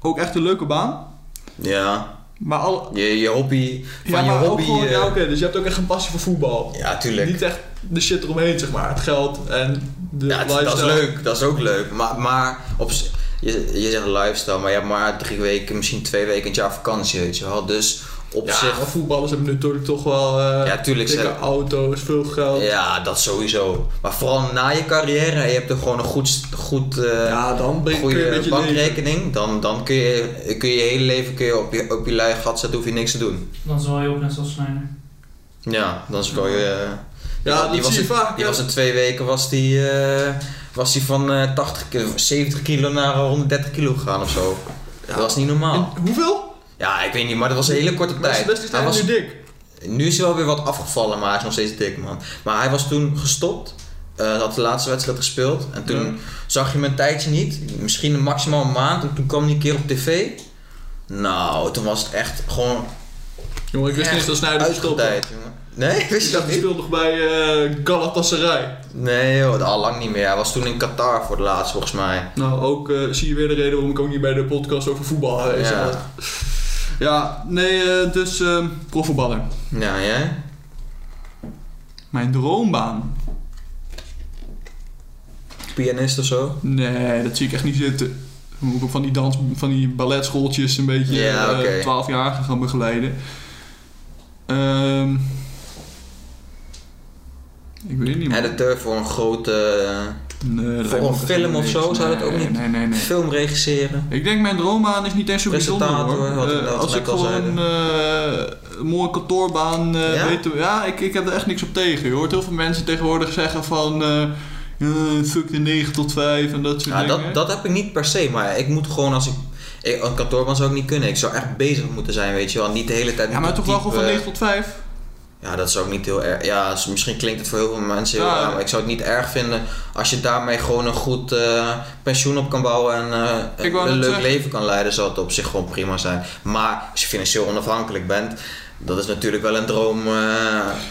Speaker 2: ook echt een leuke baan?
Speaker 1: Ja.
Speaker 2: Maar al,
Speaker 1: Je, je hobby, van
Speaker 2: ja,
Speaker 1: je
Speaker 2: maar
Speaker 1: hobby.
Speaker 2: ook gewoon,
Speaker 1: eh,
Speaker 2: ja, oké, dus je hebt ook echt een passie voor voetbal.
Speaker 1: ja, tuurlijk.
Speaker 2: Niet echt de shit eromheen, zeg maar. Het geld en de
Speaker 1: ja, het-
Speaker 2: lifestyle.
Speaker 1: dat is leuk, dat is ook leuk. Maar, maar op, z- je, je zegt lifestyle, maar je hebt maar drie weken, misschien twee weken, een jaar vakantie, weet je wel. Dus op
Speaker 2: Ja,
Speaker 1: zich,
Speaker 2: maar voetballers hebben natuurlijk toch wel eh
Speaker 1: ja, tuurlijk.
Speaker 2: dikke
Speaker 1: Ze,
Speaker 2: auto's, veel geld. Ja,
Speaker 1: ja, dat sowieso. Maar vooral na je carrière, en je hebt er gewoon een goed, st- goed eh,
Speaker 2: dan ben je kun je een
Speaker 1: goede
Speaker 2: beetje leven.
Speaker 1: bankrekening. Dan, dan kun, je, kun je je hele leven kun je op, je op je lui gat zetten, hoef je niks te doen.
Speaker 3: Dan zal je ook net zoals Snijder.
Speaker 1: Ja, dan is het wel je...
Speaker 2: Ja, dat
Speaker 1: was
Speaker 2: zie je
Speaker 1: in-
Speaker 2: vaak.
Speaker 1: Die
Speaker 2: ja.
Speaker 1: was in twee weken was die, eh, was die van eh, 80, ki- 70 kilo naar eh, 130 kilo gegaan of zo. Dat was niet normaal.
Speaker 2: En hoeveel?
Speaker 1: Ja, ik weet niet, maar dat was een hele korte
Speaker 2: Maar
Speaker 1: tijd.
Speaker 2: Best is
Speaker 1: Hij
Speaker 2: hij
Speaker 1: was,
Speaker 2: nu dik.
Speaker 1: nu is hij wel weer wat afgevallen, maar hij is nog steeds dik, man. Maar hij was toen gestopt. eh had de laatste wedstrijd gespeeld. En toen zag je hem een tijdje niet. Misschien een maximaal een maand. En toen kwam hij een keer op tv. Nou, toen was het echt gewoon
Speaker 2: Jongen, ik wist niet eens dat Sneijder verstopte.
Speaker 1: uitgetijd, jongen. Nee, wist je
Speaker 2: Ik dacht,
Speaker 1: dat
Speaker 2: hij
Speaker 1: niet?
Speaker 2: speelde nog bij eh, Galatasaray.
Speaker 1: Nee, joh, al lang niet meer. Hij was toen in Qatar voor de laatst, volgens mij.
Speaker 2: Nou, ook eh, zie je weer de reden waarom ik ook niet bij de podcast over voetbal geweest
Speaker 1: Ja.
Speaker 2: ben. Ja, nee, eh, dus ehm profvoetballer.
Speaker 1: Ja, jij?
Speaker 2: Mijn droombaan?
Speaker 1: Pianist of zo?
Speaker 2: Nee, dat zie ik echt niet zitten. Dan moet ik ook van die, dans, van die balletschooltjes een beetje
Speaker 1: Ja,
Speaker 2: eh,
Speaker 1: oké.
Speaker 2: 12-jarigen gaan begeleiden. Ehm, ik weet het niet, man.
Speaker 1: Editor voor een grote eh,
Speaker 2: nee, dat
Speaker 1: voor
Speaker 2: lijkt me
Speaker 1: een
Speaker 2: ook
Speaker 1: film
Speaker 2: helemaal
Speaker 1: of zo
Speaker 2: niks.
Speaker 1: zou dat ook
Speaker 2: Nee,
Speaker 1: niet-
Speaker 2: Nee, nee, nee.
Speaker 1: film regisseren.
Speaker 2: Ik denk mijn droombaan is niet eens zo bijzonder
Speaker 1: Presentator,
Speaker 2: hoor.
Speaker 1: had ik
Speaker 2: Eh,
Speaker 1: net-
Speaker 2: als
Speaker 1: net
Speaker 2: ik
Speaker 1: al
Speaker 2: gewoon eh, een mooie kantoorbaan. eh,
Speaker 1: Ja?
Speaker 2: weten we- ja ik, ik heb er echt niks op tegen. Je hoort heel veel mensen tegenwoordig zeggen van... eh, eh, fuck de 9 tot 5 en dat soort
Speaker 1: Ja,
Speaker 2: dingen.
Speaker 1: dat, dat heb ik niet per se, maar ik moet gewoon als ik... ik een kantoorbaan zou ik niet kunnen. Ik zou echt bezig moeten zijn, weet je wel. Niet de hele tijd eh,
Speaker 2: ja, maar
Speaker 1: moeten
Speaker 2: toch wel gewoon van
Speaker 1: typen.
Speaker 2: 9 tot 5.
Speaker 1: Ja, dat zou ik niet heel erg... Ja, s- misschien klinkt het voor heel veel mensen heel
Speaker 2: Ja.
Speaker 1: raar, maar ik zou het niet erg vinden als je daarmee gewoon een goed eh, pensioen op kan bouwen en eh,
Speaker 2: Ik wou
Speaker 1: een
Speaker 2: net
Speaker 1: leuk
Speaker 2: zeggen.
Speaker 1: leven kan leiden, zou het op zich gewoon prima zijn. Maar als je financieel onafhankelijk bent, dat is natuurlijk wel een droom. eh,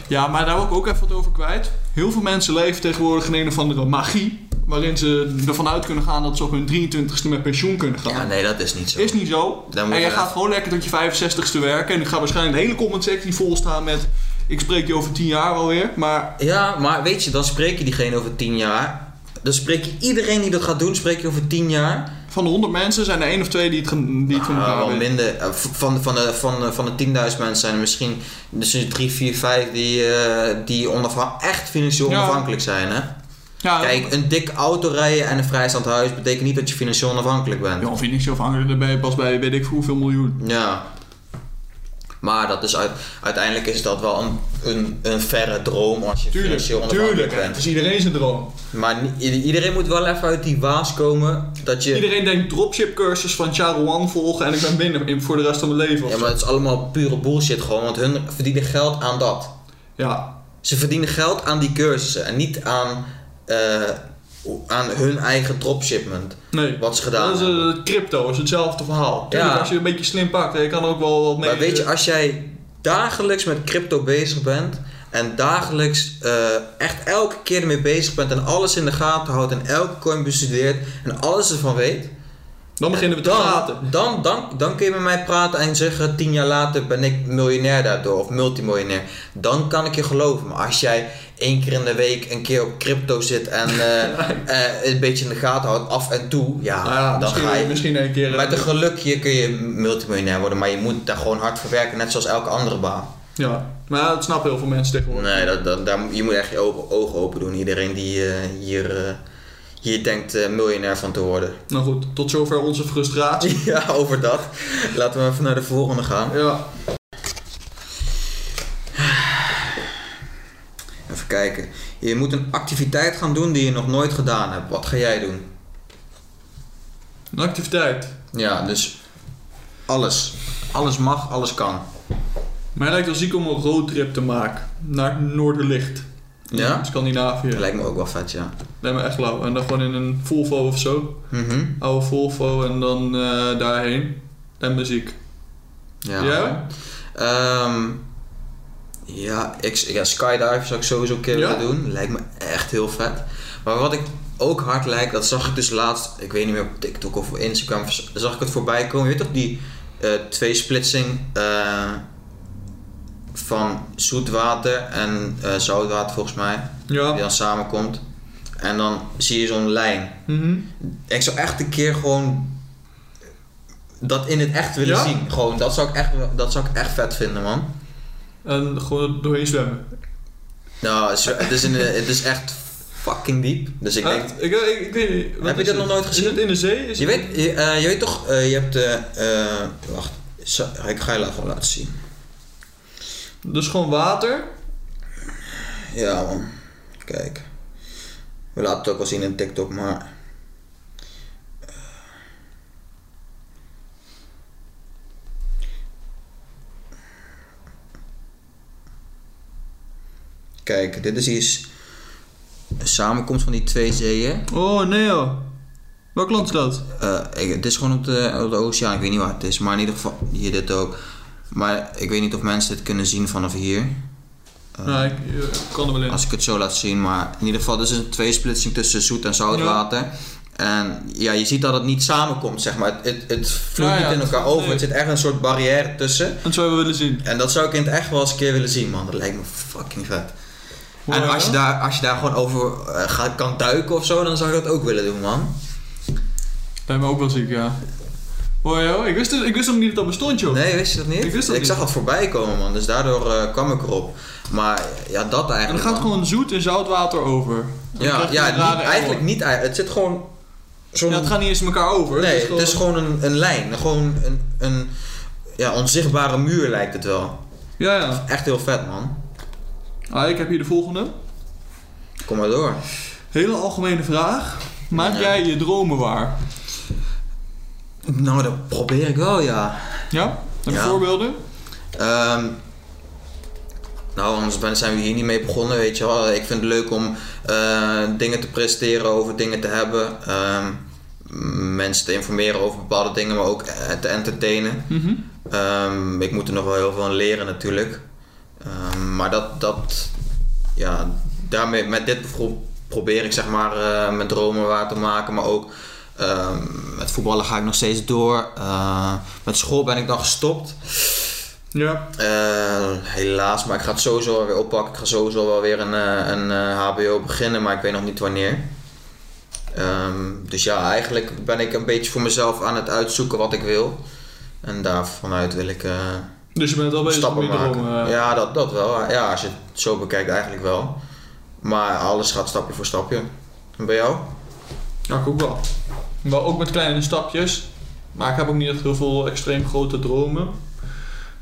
Speaker 2: Ja, maar daar wil ik ook even wat over kwijt. Heel veel mensen leven tegenwoordig in een of andere magie. Waarin ze ervan uit kunnen gaan dat ze op hun 23ste met pensioen kunnen gaan.
Speaker 1: ja, nee, dat is niet zo.
Speaker 2: Is niet zo.
Speaker 1: Dan moet
Speaker 2: en jij
Speaker 1: je-
Speaker 2: gaat gewoon lekker tot je 65ste werken. En ik ga waarschijnlijk de hele comment section volstaan met... Ik spreek je over 10 jaar wel weer. Maar
Speaker 1: Ja, maar weet je, dan spreek je diegene over 10 jaar. Dan spreek je iedereen die dat gaat doen, spreek je over 10 jaar.
Speaker 2: van de 100 mensen zijn er één of twee die het, gaan- die het van
Speaker 1: Ah,
Speaker 2: elkaar
Speaker 1: wel
Speaker 2: weten.
Speaker 1: minder. Eh, v- Van, van, de, van, de, van de 10.000 mensen zijn er misschien dus 3, 4, 5 die, eh, die onafhan- echt financieel
Speaker 2: Ja.
Speaker 1: onafhankelijk zijn. Hè?
Speaker 2: Ja,
Speaker 1: Kijk, een dik auto rijden en een vrijstaand huis betekent niet dat je financieel onafhankelijk bent.
Speaker 2: Ja, of je niet zo afhankelijk daar ben je pas bij weet ik voor hoeveel miljoen.
Speaker 1: Ja. Maar dat is uit, uiteindelijk is dat wel een, een, een verre droom als je
Speaker 2: Tuurlijk,
Speaker 1: financieel onafhankelijk
Speaker 2: tuurlijk.
Speaker 1: bent.
Speaker 2: Het is iedereen zijn droom.
Speaker 1: Maar ni- i- iedereen moet wel even uit die waas komen dat je...
Speaker 2: Iedereen denkt dropship cursus van Charoan volgen en ik ben binnen in- voor de rest van mijn leven. of
Speaker 1: Ja,
Speaker 2: zo.
Speaker 1: maar het is allemaal pure bullshit gewoon, want hun verdienen geld aan dat.
Speaker 2: ja.
Speaker 1: Ze verdienen geld aan die cursussen en niet aan, eh, aan hun eigen dropshipment.
Speaker 2: nee.
Speaker 1: Wat ze gedaan
Speaker 2: Dat is,
Speaker 1: hebben.
Speaker 2: eh, crypto is hetzelfde verhaal. Tuurlijk,
Speaker 1: Ja.
Speaker 2: Als je een beetje slim pakt, je kan er ook wel wat mee. eh,
Speaker 1: Maar weet je, als jij dagelijks met crypto bezig bent en dagelijks eh, echt elke keer ermee bezig bent en alles in de gaten houdt en elke coin bestudeert en alles ervan weet,
Speaker 2: dan beginnen we te
Speaker 1: eh, dan,
Speaker 2: praten.
Speaker 1: Dan, dan, dan kun je met mij praten en zeggen: tien jaar later ben ik miljonair daardoor of multimiljonair. Dan kan ik je geloven. Maar als jij één keer in de week een keer op crypto zit en eh, eh, een beetje in de gaten houdt af en toe, ja,
Speaker 2: Nou ja,
Speaker 1: dan
Speaker 2: misschien,
Speaker 1: Ah, ga je.
Speaker 2: misschien een keer. eh,
Speaker 1: Met een gelukje kun je multimiljonair worden, maar je moet daar gewoon hard voor werken, net zoals elke andere baan.
Speaker 2: Ja, maar ja, dat snappen heel veel mensen tegenwoordig.
Speaker 1: Nee, dat, dat, daar, je moet echt je ogen, ogen open doen. Iedereen die eh, hier, eh, hier denkt eh, miljonair van te worden.
Speaker 2: Nou goed, tot zover onze frustratie.
Speaker 1: ja, over dat. Laten we even naar de volgende gaan.
Speaker 2: Ja.
Speaker 1: Even kijken. Je moet een activiteit gaan doen die je nog nooit gedaan hebt. Wat ga jij doen?
Speaker 2: Een activiteit.
Speaker 1: Ja, dus alles. Alles mag, alles kan.
Speaker 2: Mij lijkt wel ziek om een roadtrip te maken naar het Noorderlicht.
Speaker 1: Ja?
Speaker 2: Scandinavië.
Speaker 1: Dat lijkt me ook wel vet, ja.
Speaker 2: Lijkt me echt lauw. En dan gewoon in een Volvo of zo.
Speaker 1: Mhm.
Speaker 2: Oude Volvo en dan eh, daarheen. En muziek.
Speaker 1: Ja.
Speaker 2: Jij?
Speaker 1: Ehm, ja, ik, ja, skydive zou ik sowieso een keer
Speaker 2: Ja?
Speaker 1: willen doen. Lijkt me echt heel vet. Maar wat ik ook hard lijkt, dat zag ik dus laatst, ik weet niet meer op TikTok of op Instagram, zag ik het voorbij komen. Je weet toch die eh tweesplitsing eh, van zoetwater en eh, zoutwater volgens mij,
Speaker 2: Ja.
Speaker 1: die dan samenkomt. En dan zie je zo'n lijn.
Speaker 2: Mhm.
Speaker 1: Ik zou echt een keer gewoon dat in het echt willen
Speaker 2: Ja?
Speaker 1: zien. Gewoon, dat zou, ik echt, dat zou ik echt vet vinden, man.
Speaker 2: En gewoon doorheen zwemmen.
Speaker 1: Nou, het is, het is, in de- het is echt fucking diep. Dus ik
Speaker 2: Ah,
Speaker 1: denk...
Speaker 2: ik, ik, ik weet niet. Wat
Speaker 1: Heb je
Speaker 2: is
Speaker 1: dat
Speaker 2: het?
Speaker 1: nog nooit gezien?
Speaker 2: Is het in de zee? Is
Speaker 1: Je
Speaker 2: het-
Speaker 1: weet, je, eh, je weet toch, eh, je hebt... eh, eh, wacht, zo- ik ga je laten gewoon laten zien.
Speaker 2: Dus gewoon water.
Speaker 1: Ja, man. Kijk. We laten het ook wel zien in TikTok, maar... Kijk, dit is hier een samenkomst van die twee zeeën.
Speaker 2: Oh nee joh. Welk land is dat?
Speaker 1: Eh, ik- het is gewoon op de, op de oceaan, ik weet niet waar het is, maar in ieder geval hier dit ook. Maar ik weet niet of mensen dit kunnen zien vanaf hier. Eh,
Speaker 2: nou, ik eh, kan er wel in.
Speaker 1: Als ik het zo laat zien, maar in ieder geval, dit is een tweesplitsing tussen zoet en zout
Speaker 2: Ja.
Speaker 1: water. En ja, je ziet dat het niet samenkomt, zeg maar. Het, het, het vloeit
Speaker 2: Nou ja,
Speaker 1: niet in
Speaker 2: het-
Speaker 1: elkaar over.
Speaker 2: nee.
Speaker 1: Het zit echt een soort barrière tussen.
Speaker 2: Dat zouden we willen zien.
Speaker 1: En dat zou ik in het echt wel eens een keer willen zien, man. Dat lijkt me fucking vet. en
Speaker 2: Mooi,
Speaker 1: als je,
Speaker 2: hè?
Speaker 1: daar, als je daar gewoon over eh, gaat, kan duiken of zo, dan zou ik dat ook willen doen, man.
Speaker 2: Lijkt me ook wel ziek, ja. Mooi joh. Ik wist, het- ik wist nog niet dat dat bestond joh.
Speaker 1: Nee, wist je dat niet?
Speaker 2: Ik wist dat niet.
Speaker 1: zag dat voorbij komen, man. Dus daardoor eh, kwam ik erop. Maar ja, dat
Speaker 2: En dan
Speaker 1: eigenlijk.
Speaker 2: gaat
Speaker 1: man.
Speaker 2: gewoon zoet en zout water over. En dan
Speaker 1: Ja,
Speaker 2: krijg je
Speaker 1: ja
Speaker 2: een
Speaker 1: niet-
Speaker 2: rare
Speaker 1: eigenlijk
Speaker 2: emmer.
Speaker 1: niet. ei- Het zit gewoon. Zo'n,
Speaker 2: Ja, het gaat niet eens met elkaar over.
Speaker 1: nee, het is gewoon een, een lijn. Gewoon een, een ja, onzichtbare muur lijkt het wel.
Speaker 2: Ja, ja.
Speaker 1: Echt heel vet, man.
Speaker 2: Ah, ik heb hier de volgende.
Speaker 1: Kom maar door.
Speaker 2: Hele algemene vraag. Maak
Speaker 1: Ja.
Speaker 2: jij je dromen waar?
Speaker 1: Nou, dat probeer ik wel, ja.
Speaker 2: Ja? Heb je
Speaker 1: Ja.
Speaker 2: voorbeelden?
Speaker 1: Ehm, nou, anders ben, zijn we hier niet mee begonnen, weet je wel. Ik vind het leuk om eh, dingen te presteren, over dingen te hebben. ehm, mensen te informeren over bepaalde dingen, maar ook eh, te entertainen.
Speaker 2: Mhm.
Speaker 1: Ehm, ik moet er nog wel heel veel aan leren natuurlijk. Ehm, maar dat, dat, ja, daarmee, met dit pro- probeer ik zeg maar eh, mijn dromen waar te maken. Maar ook ehm, met voetballen ga ik nog steeds door. Eh, met school ben ik dan gestopt.
Speaker 2: Ja.
Speaker 1: Eh, helaas, maar ik ga het sowieso wel weer oppakken. Ik ga sowieso wel weer een, eh, een eh, HBO beginnen, maar ik weet nog niet wanneer. Ehm, dus ja, eigenlijk ben ik een beetje voor mezelf aan het uitzoeken wat ik wil. En daarvanuit wil ik eh,
Speaker 2: Dus je bent al bezig
Speaker 1: stappen
Speaker 2: met je
Speaker 1: maken.
Speaker 2: dromen. eh.
Speaker 1: Ja, dat, dat wel. Ja, als je het zo bekijkt eigenlijk wel. Maar alles gaat stapje voor stapje. En bij jou?
Speaker 2: Ja, ik ook wel. Maar ook met kleine stapjes. Maar ik heb ook niet echt heel veel extreem grote dromen.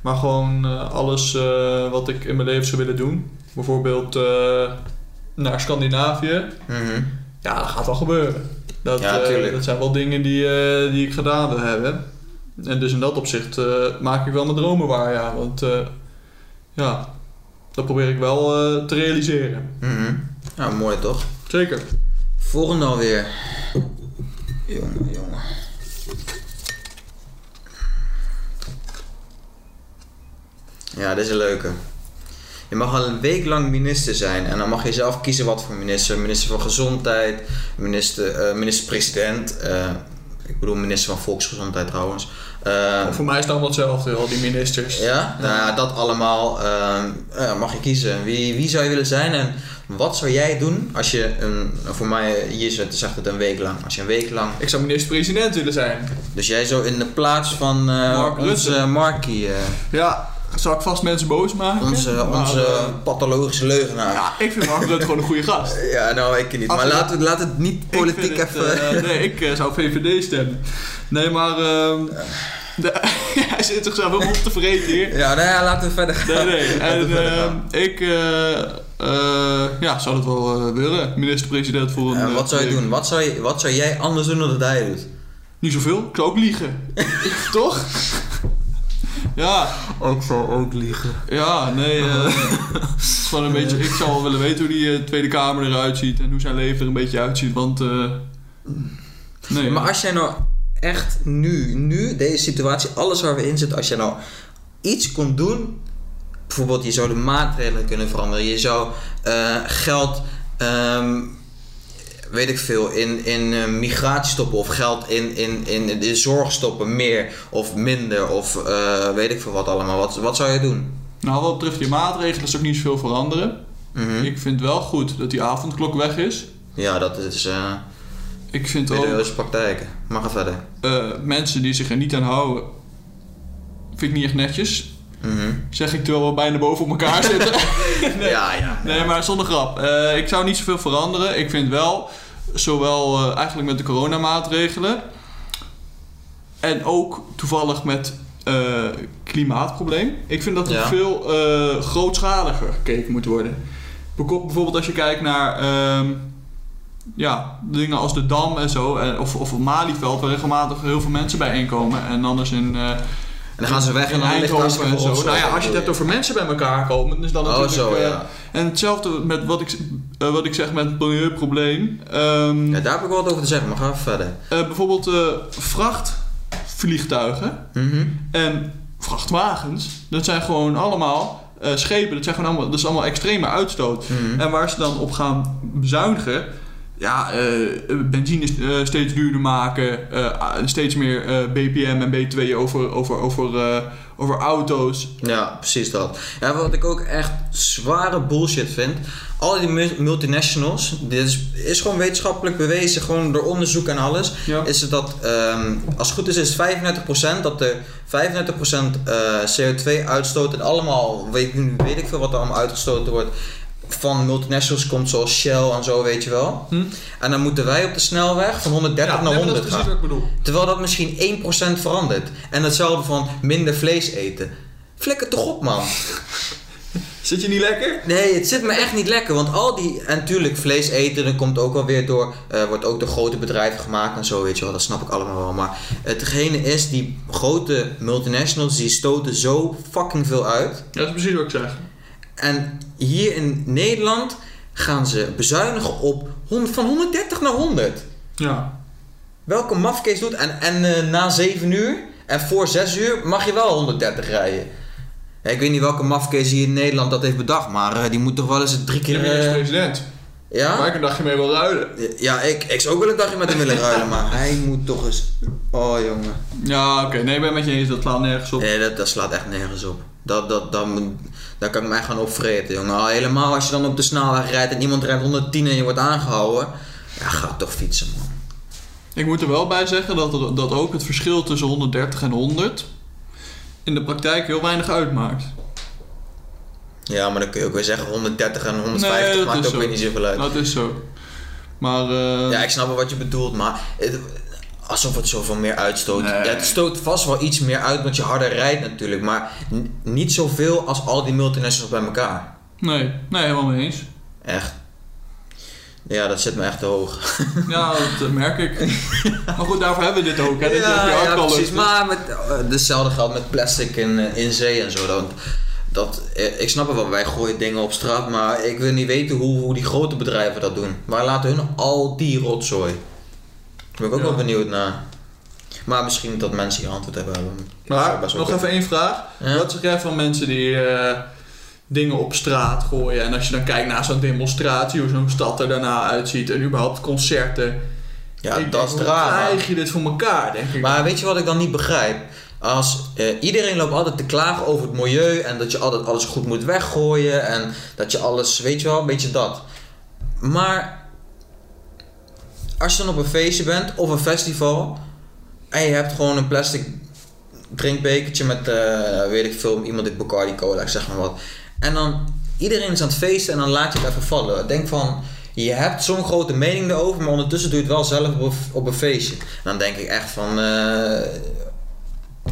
Speaker 2: Maar gewoon eh, alles eh, wat ik in mijn leven zou willen doen. Bijvoorbeeld eh, naar Scandinavië.
Speaker 1: Mhm.
Speaker 2: Ja, dat gaat wel gebeuren. Dat,
Speaker 1: Ja,
Speaker 2: eh,
Speaker 1: tuurlijk.
Speaker 2: dat zijn wel dingen die, eh, die ik gedaan wil hebben. En dus in dat opzicht eh, maak ik wel mijn dromen waar, ja. Want eh, ja, dat probeer ik wel eh, te realiseren.
Speaker 1: Mhm. Ja, mooi toch?
Speaker 2: Zeker.
Speaker 1: Volgende alweer. Jongen, jongen. Ja, dit is een leuke. Je mag al een week lang minister zijn en dan mag je zelf kiezen wat voor minister. Minister van Gezondheid, minister, eh, minister-president. eh, ik bedoel minister van Volksgezondheid trouwens. Eh,
Speaker 2: Voor mij is het allemaal hetzelfde, al die ministers.
Speaker 1: ja, nou ja, dat allemaal ehm, eh, mag je kiezen. Wie, wie zou je willen zijn en wat zou jij doen als je, een, nou, voor mij hier zit, zegt het een week lang. Als je een week lang,
Speaker 2: Ik zou minister-president willen zijn.
Speaker 1: dus jij zou in de plaats van eh,
Speaker 2: Mark
Speaker 1: onze
Speaker 2: Rutte.
Speaker 1: Markie, eh,
Speaker 2: Ja, zou ik vast mensen boos maken?
Speaker 1: onze,
Speaker 2: Maar,
Speaker 1: onze
Speaker 2: eh,
Speaker 1: pathologische leugenaar. Ja.
Speaker 2: ja, ik vind Mark Rutte gewoon een goede gast. Ik
Speaker 1: nou ik niet.
Speaker 2: Als
Speaker 1: Maar
Speaker 2: je-
Speaker 1: laat, het- laat het niet politiek
Speaker 2: vind het,
Speaker 1: even...
Speaker 2: eh, nee, ik eh, zou VVD stemmen. Nee, maar... ehm, de- hij zit zichzelf helemaal op te vreten hier.
Speaker 1: ja, nou ja, laten we verder gaan.
Speaker 2: Nee, nee.
Speaker 1: Laten we
Speaker 2: En
Speaker 1: verder gaan.
Speaker 2: ehm, ik eh, eh, ja, zou dat wel eh, willen. Minister-president voor een...
Speaker 1: En
Speaker 2: eh,
Speaker 1: wat zou je
Speaker 2: week.
Speaker 1: doen? Wat zou, je, wat zou jij anders doen dan dat hij doet?
Speaker 2: Niet zoveel. Ik zou ook liegen. Toch? ja.
Speaker 1: Ook zou ook liegen.
Speaker 2: Ja, nee. eh, het is gewoon een beetje, ik zou wel willen weten hoe die eh, Tweede Kamer eruit ziet en hoe zijn leven er een beetje uitziet. Want. eh, nee.
Speaker 1: Maar als jij nou echt nu, nu, deze situatie, alles waar we in zitten, als jij nou iets kon doen, bijvoorbeeld je zou de maatregelen kunnen veranderen, je zou eh, geld, ehm, weet ik veel, in, in eh, migratie stoppen of geld in, in, in de zorg stoppen, meer of minder of eh, weet ik veel wat allemaal. Wat, wat zou je doen?
Speaker 2: Nou, wat betreft je maatregelen is ook niet zoveel veranderen.
Speaker 1: Mhm.
Speaker 2: Ik vind wel goed dat die avondklok weg is.
Speaker 1: Ja, dat is eh
Speaker 2: Ik vind ook
Speaker 1: middeleeuwse praktijken. Maar ga verder.
Speaker 2: eh, mensen die zich er niet aan houden, vind ik niet echt netjes.
Speaker 1: Mhm.
Speaker 2: Zeg ik terwijl we bijna boven op elkaar zitten. Nee.
Speaker 1: Ja, ja.
Speaker 2: Nee, maar zonder grap. Eh, ik zou niet zoveel veranderen. Ik vind wel, zowel eh, eigenlijk met de coronamaatregelen... en ook toevallig met eh klimaatprobleem... ik vind dat er
Speaker 1: Ja.
Speaker 2: veel eh, grootschaliger gekeken moet worden. Beko- Bijvoorbeeld als je kijkt naar... ehm, ja, dingen als de Dam en zo, en- of, of het Malieveld, waar regelmatig heel veel mensen bijeenkomen. En anders in, eh,
Speaker 1: En dan gaan ze weg en
Speaker 2: in
Speaker 1: dan ligt het
Speaker 2: Eindhoven en
Speaker 1: hartstikke
Speaker 2: zo.
Speaker 1: vol
Speaker 2: Nou ja,
Speaker 1: opslag,
Speaker 2: als je het hebt
Speaker 1: bedoel
Speaker 2: over mensen bij elkaar komen, dan is dat natuurlijk...
Speaker 1: Oh, zo,
Speaker 2: eh,
Speaker 1: ja.
Speaker 2: en hetzelfde met wat ik, eh, wat ik zeg met het milieuprobleem. Ehm,
Speaker 1: Ja, daar heb ik wel wat over te zeggen, maar ga even verder.
Speaker 2: eh, bijvoorbeeld eh, vrachtvliegtuigen
Speaker 1: Mhm.
Speaker 2: en vrachtwagens. Dat zijn gewoon allemaal eh, schepen. Dat, zijn gewoon allemaal, dat is allemaal extreme uitstoot.
Speaker 1: Mhm.
Speaker 2: En waar ze dan op gaan bezuinigen... Ja, eh, benzine eh, steeds duurder maken. eh, steeds meer eh, BPM en B2 over, over, over, eh, over auto's.
Speaker 1: Ja, precies dat. Ja, wat ik ook echt zware bullshit vind. Al die mu- multinationals, dit is, is gewoon wetenschappelijk bewezen, gewoon door onderzoek en alles.
Speaker 2: Ja.
Speaker 1: Is het dat, ehm, als het goed is, is het 35% dat er 35% eh, CO2 uitstoot en allemaal, weet, weet ik veel wat er allemaal uitgestoten wordt. Van multinationals komt zoals Shell en zo, weet je wel.
Speaker 2: Hm?
Speaker 1: En dan moeten wij op de snelweg van 130 naar
Speaker 2: nee, maar
Speaker 1: 100
Speaker 2: dat is
Speaker 1: gaan.
Speaker 2: precies wat ik bedoel.
Speaker 1: Terwijl dat misschien 1% verandert. En hetzelfde van minder vlees eten. 35% Flikker toch op, man.
Speaker 2: Zit je niet lekker?
Speaker 1: Nee, het zit me echt niet lekker. Want al die. En tuurlijk, vlees eten dat komt ook wel weer door. eh, wordt ook door grote bedrijven gemaakt en zo, weet je wel. Dat snap ik allemaal wel. Maar hetgene is, die grote multinationals die stoten zo fucking veel uit.
Speaker 2: Dat is precies wat ik zeg.
Speaker 1: En hier in Nederland gaan ze bezuinigen op hond- van 130 naar 100.
Speaker 2: Ja.
Speaker 1: Welke mafkees doet. En, en eh, na 7 uur en voor 6 uur mag je wel 130 rijden. Ja, Ik weet niet welke mafkees hier in Nederland dat heeft bedacht, maar eh, die moet toch wel eens drie
Speaker 2: Ik
Speaker 1: keer.
Speaker 2: ben
Speaker 1: eh,
Speaker 2: president.
Speaker 1: ja?
Speaker 2: Waar ik een dagje mee wil ruilen.
Speaker 1: Ja, ik, ik zou ook wel een dagje met hem willen ruilen, maar hij moet toch eens. Oh jongen.
Speaker 2: Ja, oké. Nee, ik ben met je eens. Dat slaat nergens op.
Speaker 1: Nee, dat, dat slaat echt nergens op. Dat, dat, dat, moet- daar kan ik me echt gaan opvreten, jongen. Al helemaal als je dan op de snelweg rijdt en iemand rijdt 110 en je wordt aangehouden. Ja, ga toch fietsen, man.
Speaker 2: Ik moet er wel bij zeggen dat, het- dat ook het verschil tussen 130 en 100 in de praktijk heel weinig uitmaakt.
Speaker 1: Ja, maar dan kun je ook weer zeggen 130 en 150
Speaker 2: Nee, dat
Speaker 1: maakt
Speaker 2: is
Speaker 1: ook
Speaker 2: zo.
Speaker 1: weer niet zoveel uit.
Speaker 2: Dat is zo. Maar eh,
Speaker 1: Ja, ik snap wel wat je bedoelt, maar het- alsof het zoveel meer uitstoot.
Speaker 2: Nee.
Speaker 1: Ja, het stoot vast wel iets meer uit, want je harder rijdt natuurlijk. Maar n- niet zoveel als al die multinationals bij elkaar.
Speaker 2: nee, nee, helemaal mee eens.
Speaker 1: Echt. Ja, dat zit me echt te hoog.
Speaker 2: Ja, dat eh, merk ik. Maar goed, daarvoor hebben we dit ook. Hè. Dit heb je ook al
Speaker 1: precies.
Speaker 2: lucht.
Speaker 1: Maar met, eh, hetzelfde geldt met plastic in, eh, in zee en zo. Dat, dat, eh, ik snap het wel, wij gooien dingen op straat, maar ik wil niet weten hoe, hoe die grote bedrijven dat doen. Waar laten hun al die rotzooi? Daar ben ik ook
Speaker 2: Ja.
Speaker 1: wel benieuwd naar. Maar misschien dat mensen hier antwoord hebben.
Speaker 2: Maar
Speaker 1: Zou best wel
Speaker 2: nog
Speaker 1: kunnen.
Speaker 2: even één vraag.
Speaker 1: Ja.
Speaker 2: Wat zeg jij van mensen die eh, dingen op straat gooien? En als je dan kijkt naar zo'n demonstratie, hoe zo'n stad er daarna uitziet en überhaupt concerten.
Speaker 1: Ja,
Speaker 2: Ik
Speaker 1: dat is
Speaker 2: denk,
Speaker 1: drama.
Speaker 2: Hoe krijg je dit voor elkaar, denk ik.
Speaker 1: Maar weet je wat ik dan niet begrijp? Als eh, iedereen loopt altijd te klagen over het milieu en dat je altijd alles goed moet weggooien en dat je alles, weet je wel, een beetje dat. Maar als je dan op een feestje bent of een festival en je hebt gewoon een plastic drinkbekertje met, eh, weet ik veel, iemand die Bacardi cola, ik zeg maar wat. En dan iedereen is aan het feesten en dan laat je het even vallen. Denk van, je hebt zo'n grote mening erover, maar ondertussen doe je het wel zelf op, een- op een feestje. Dan denk ik echt van, eh,
Speaker 2: Nee,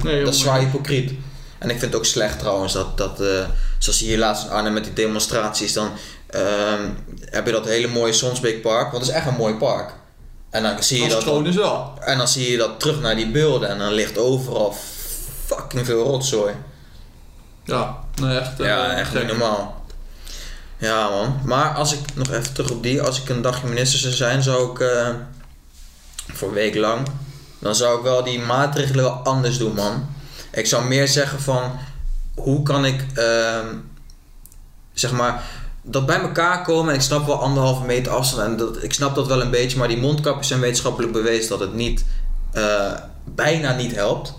Speaker 1: dat
Speaker 2: helemaal
Speaker 1: is zwaar hypocriet. En ik vind het ook slecht trouwens dat, dat eh, zoals hier laatst in Arnhem met die demonstraties, dan ehm, heb je dat hele mooie Sonsbeek Park, want het is echt een mooi park. En dan zie je
Speaker 2: Als
Speaker 1: dat.
Speaker 2: het gewoon is wel.
Speaker 1: En dan zie je dat terug naar die beelden en dan ligt overal fucking veel rotzooi.
Speaker 2: Ja, nee, echt. eh,
Speaker 1: ja, echt niet
Speaker 2: gek.
Speaker 1: normaal. Ja man, maar als ik nog even terug op die, als ik een dagje minister zou zijn, zou ik eh, voor een week lang, dan zou ik wel die maatregelen wel anders doen man. Ik zou meer zeggen van, hoe kan ik, ehm, zeg maar, dat bij elkaar komen en ik snap wel anderhalve meter afstand en dat, ik snap dat wel een beetje, maar die mondkapjes zijn wetenschappelijk bewezen dat het niet, eh, bijna niet helpt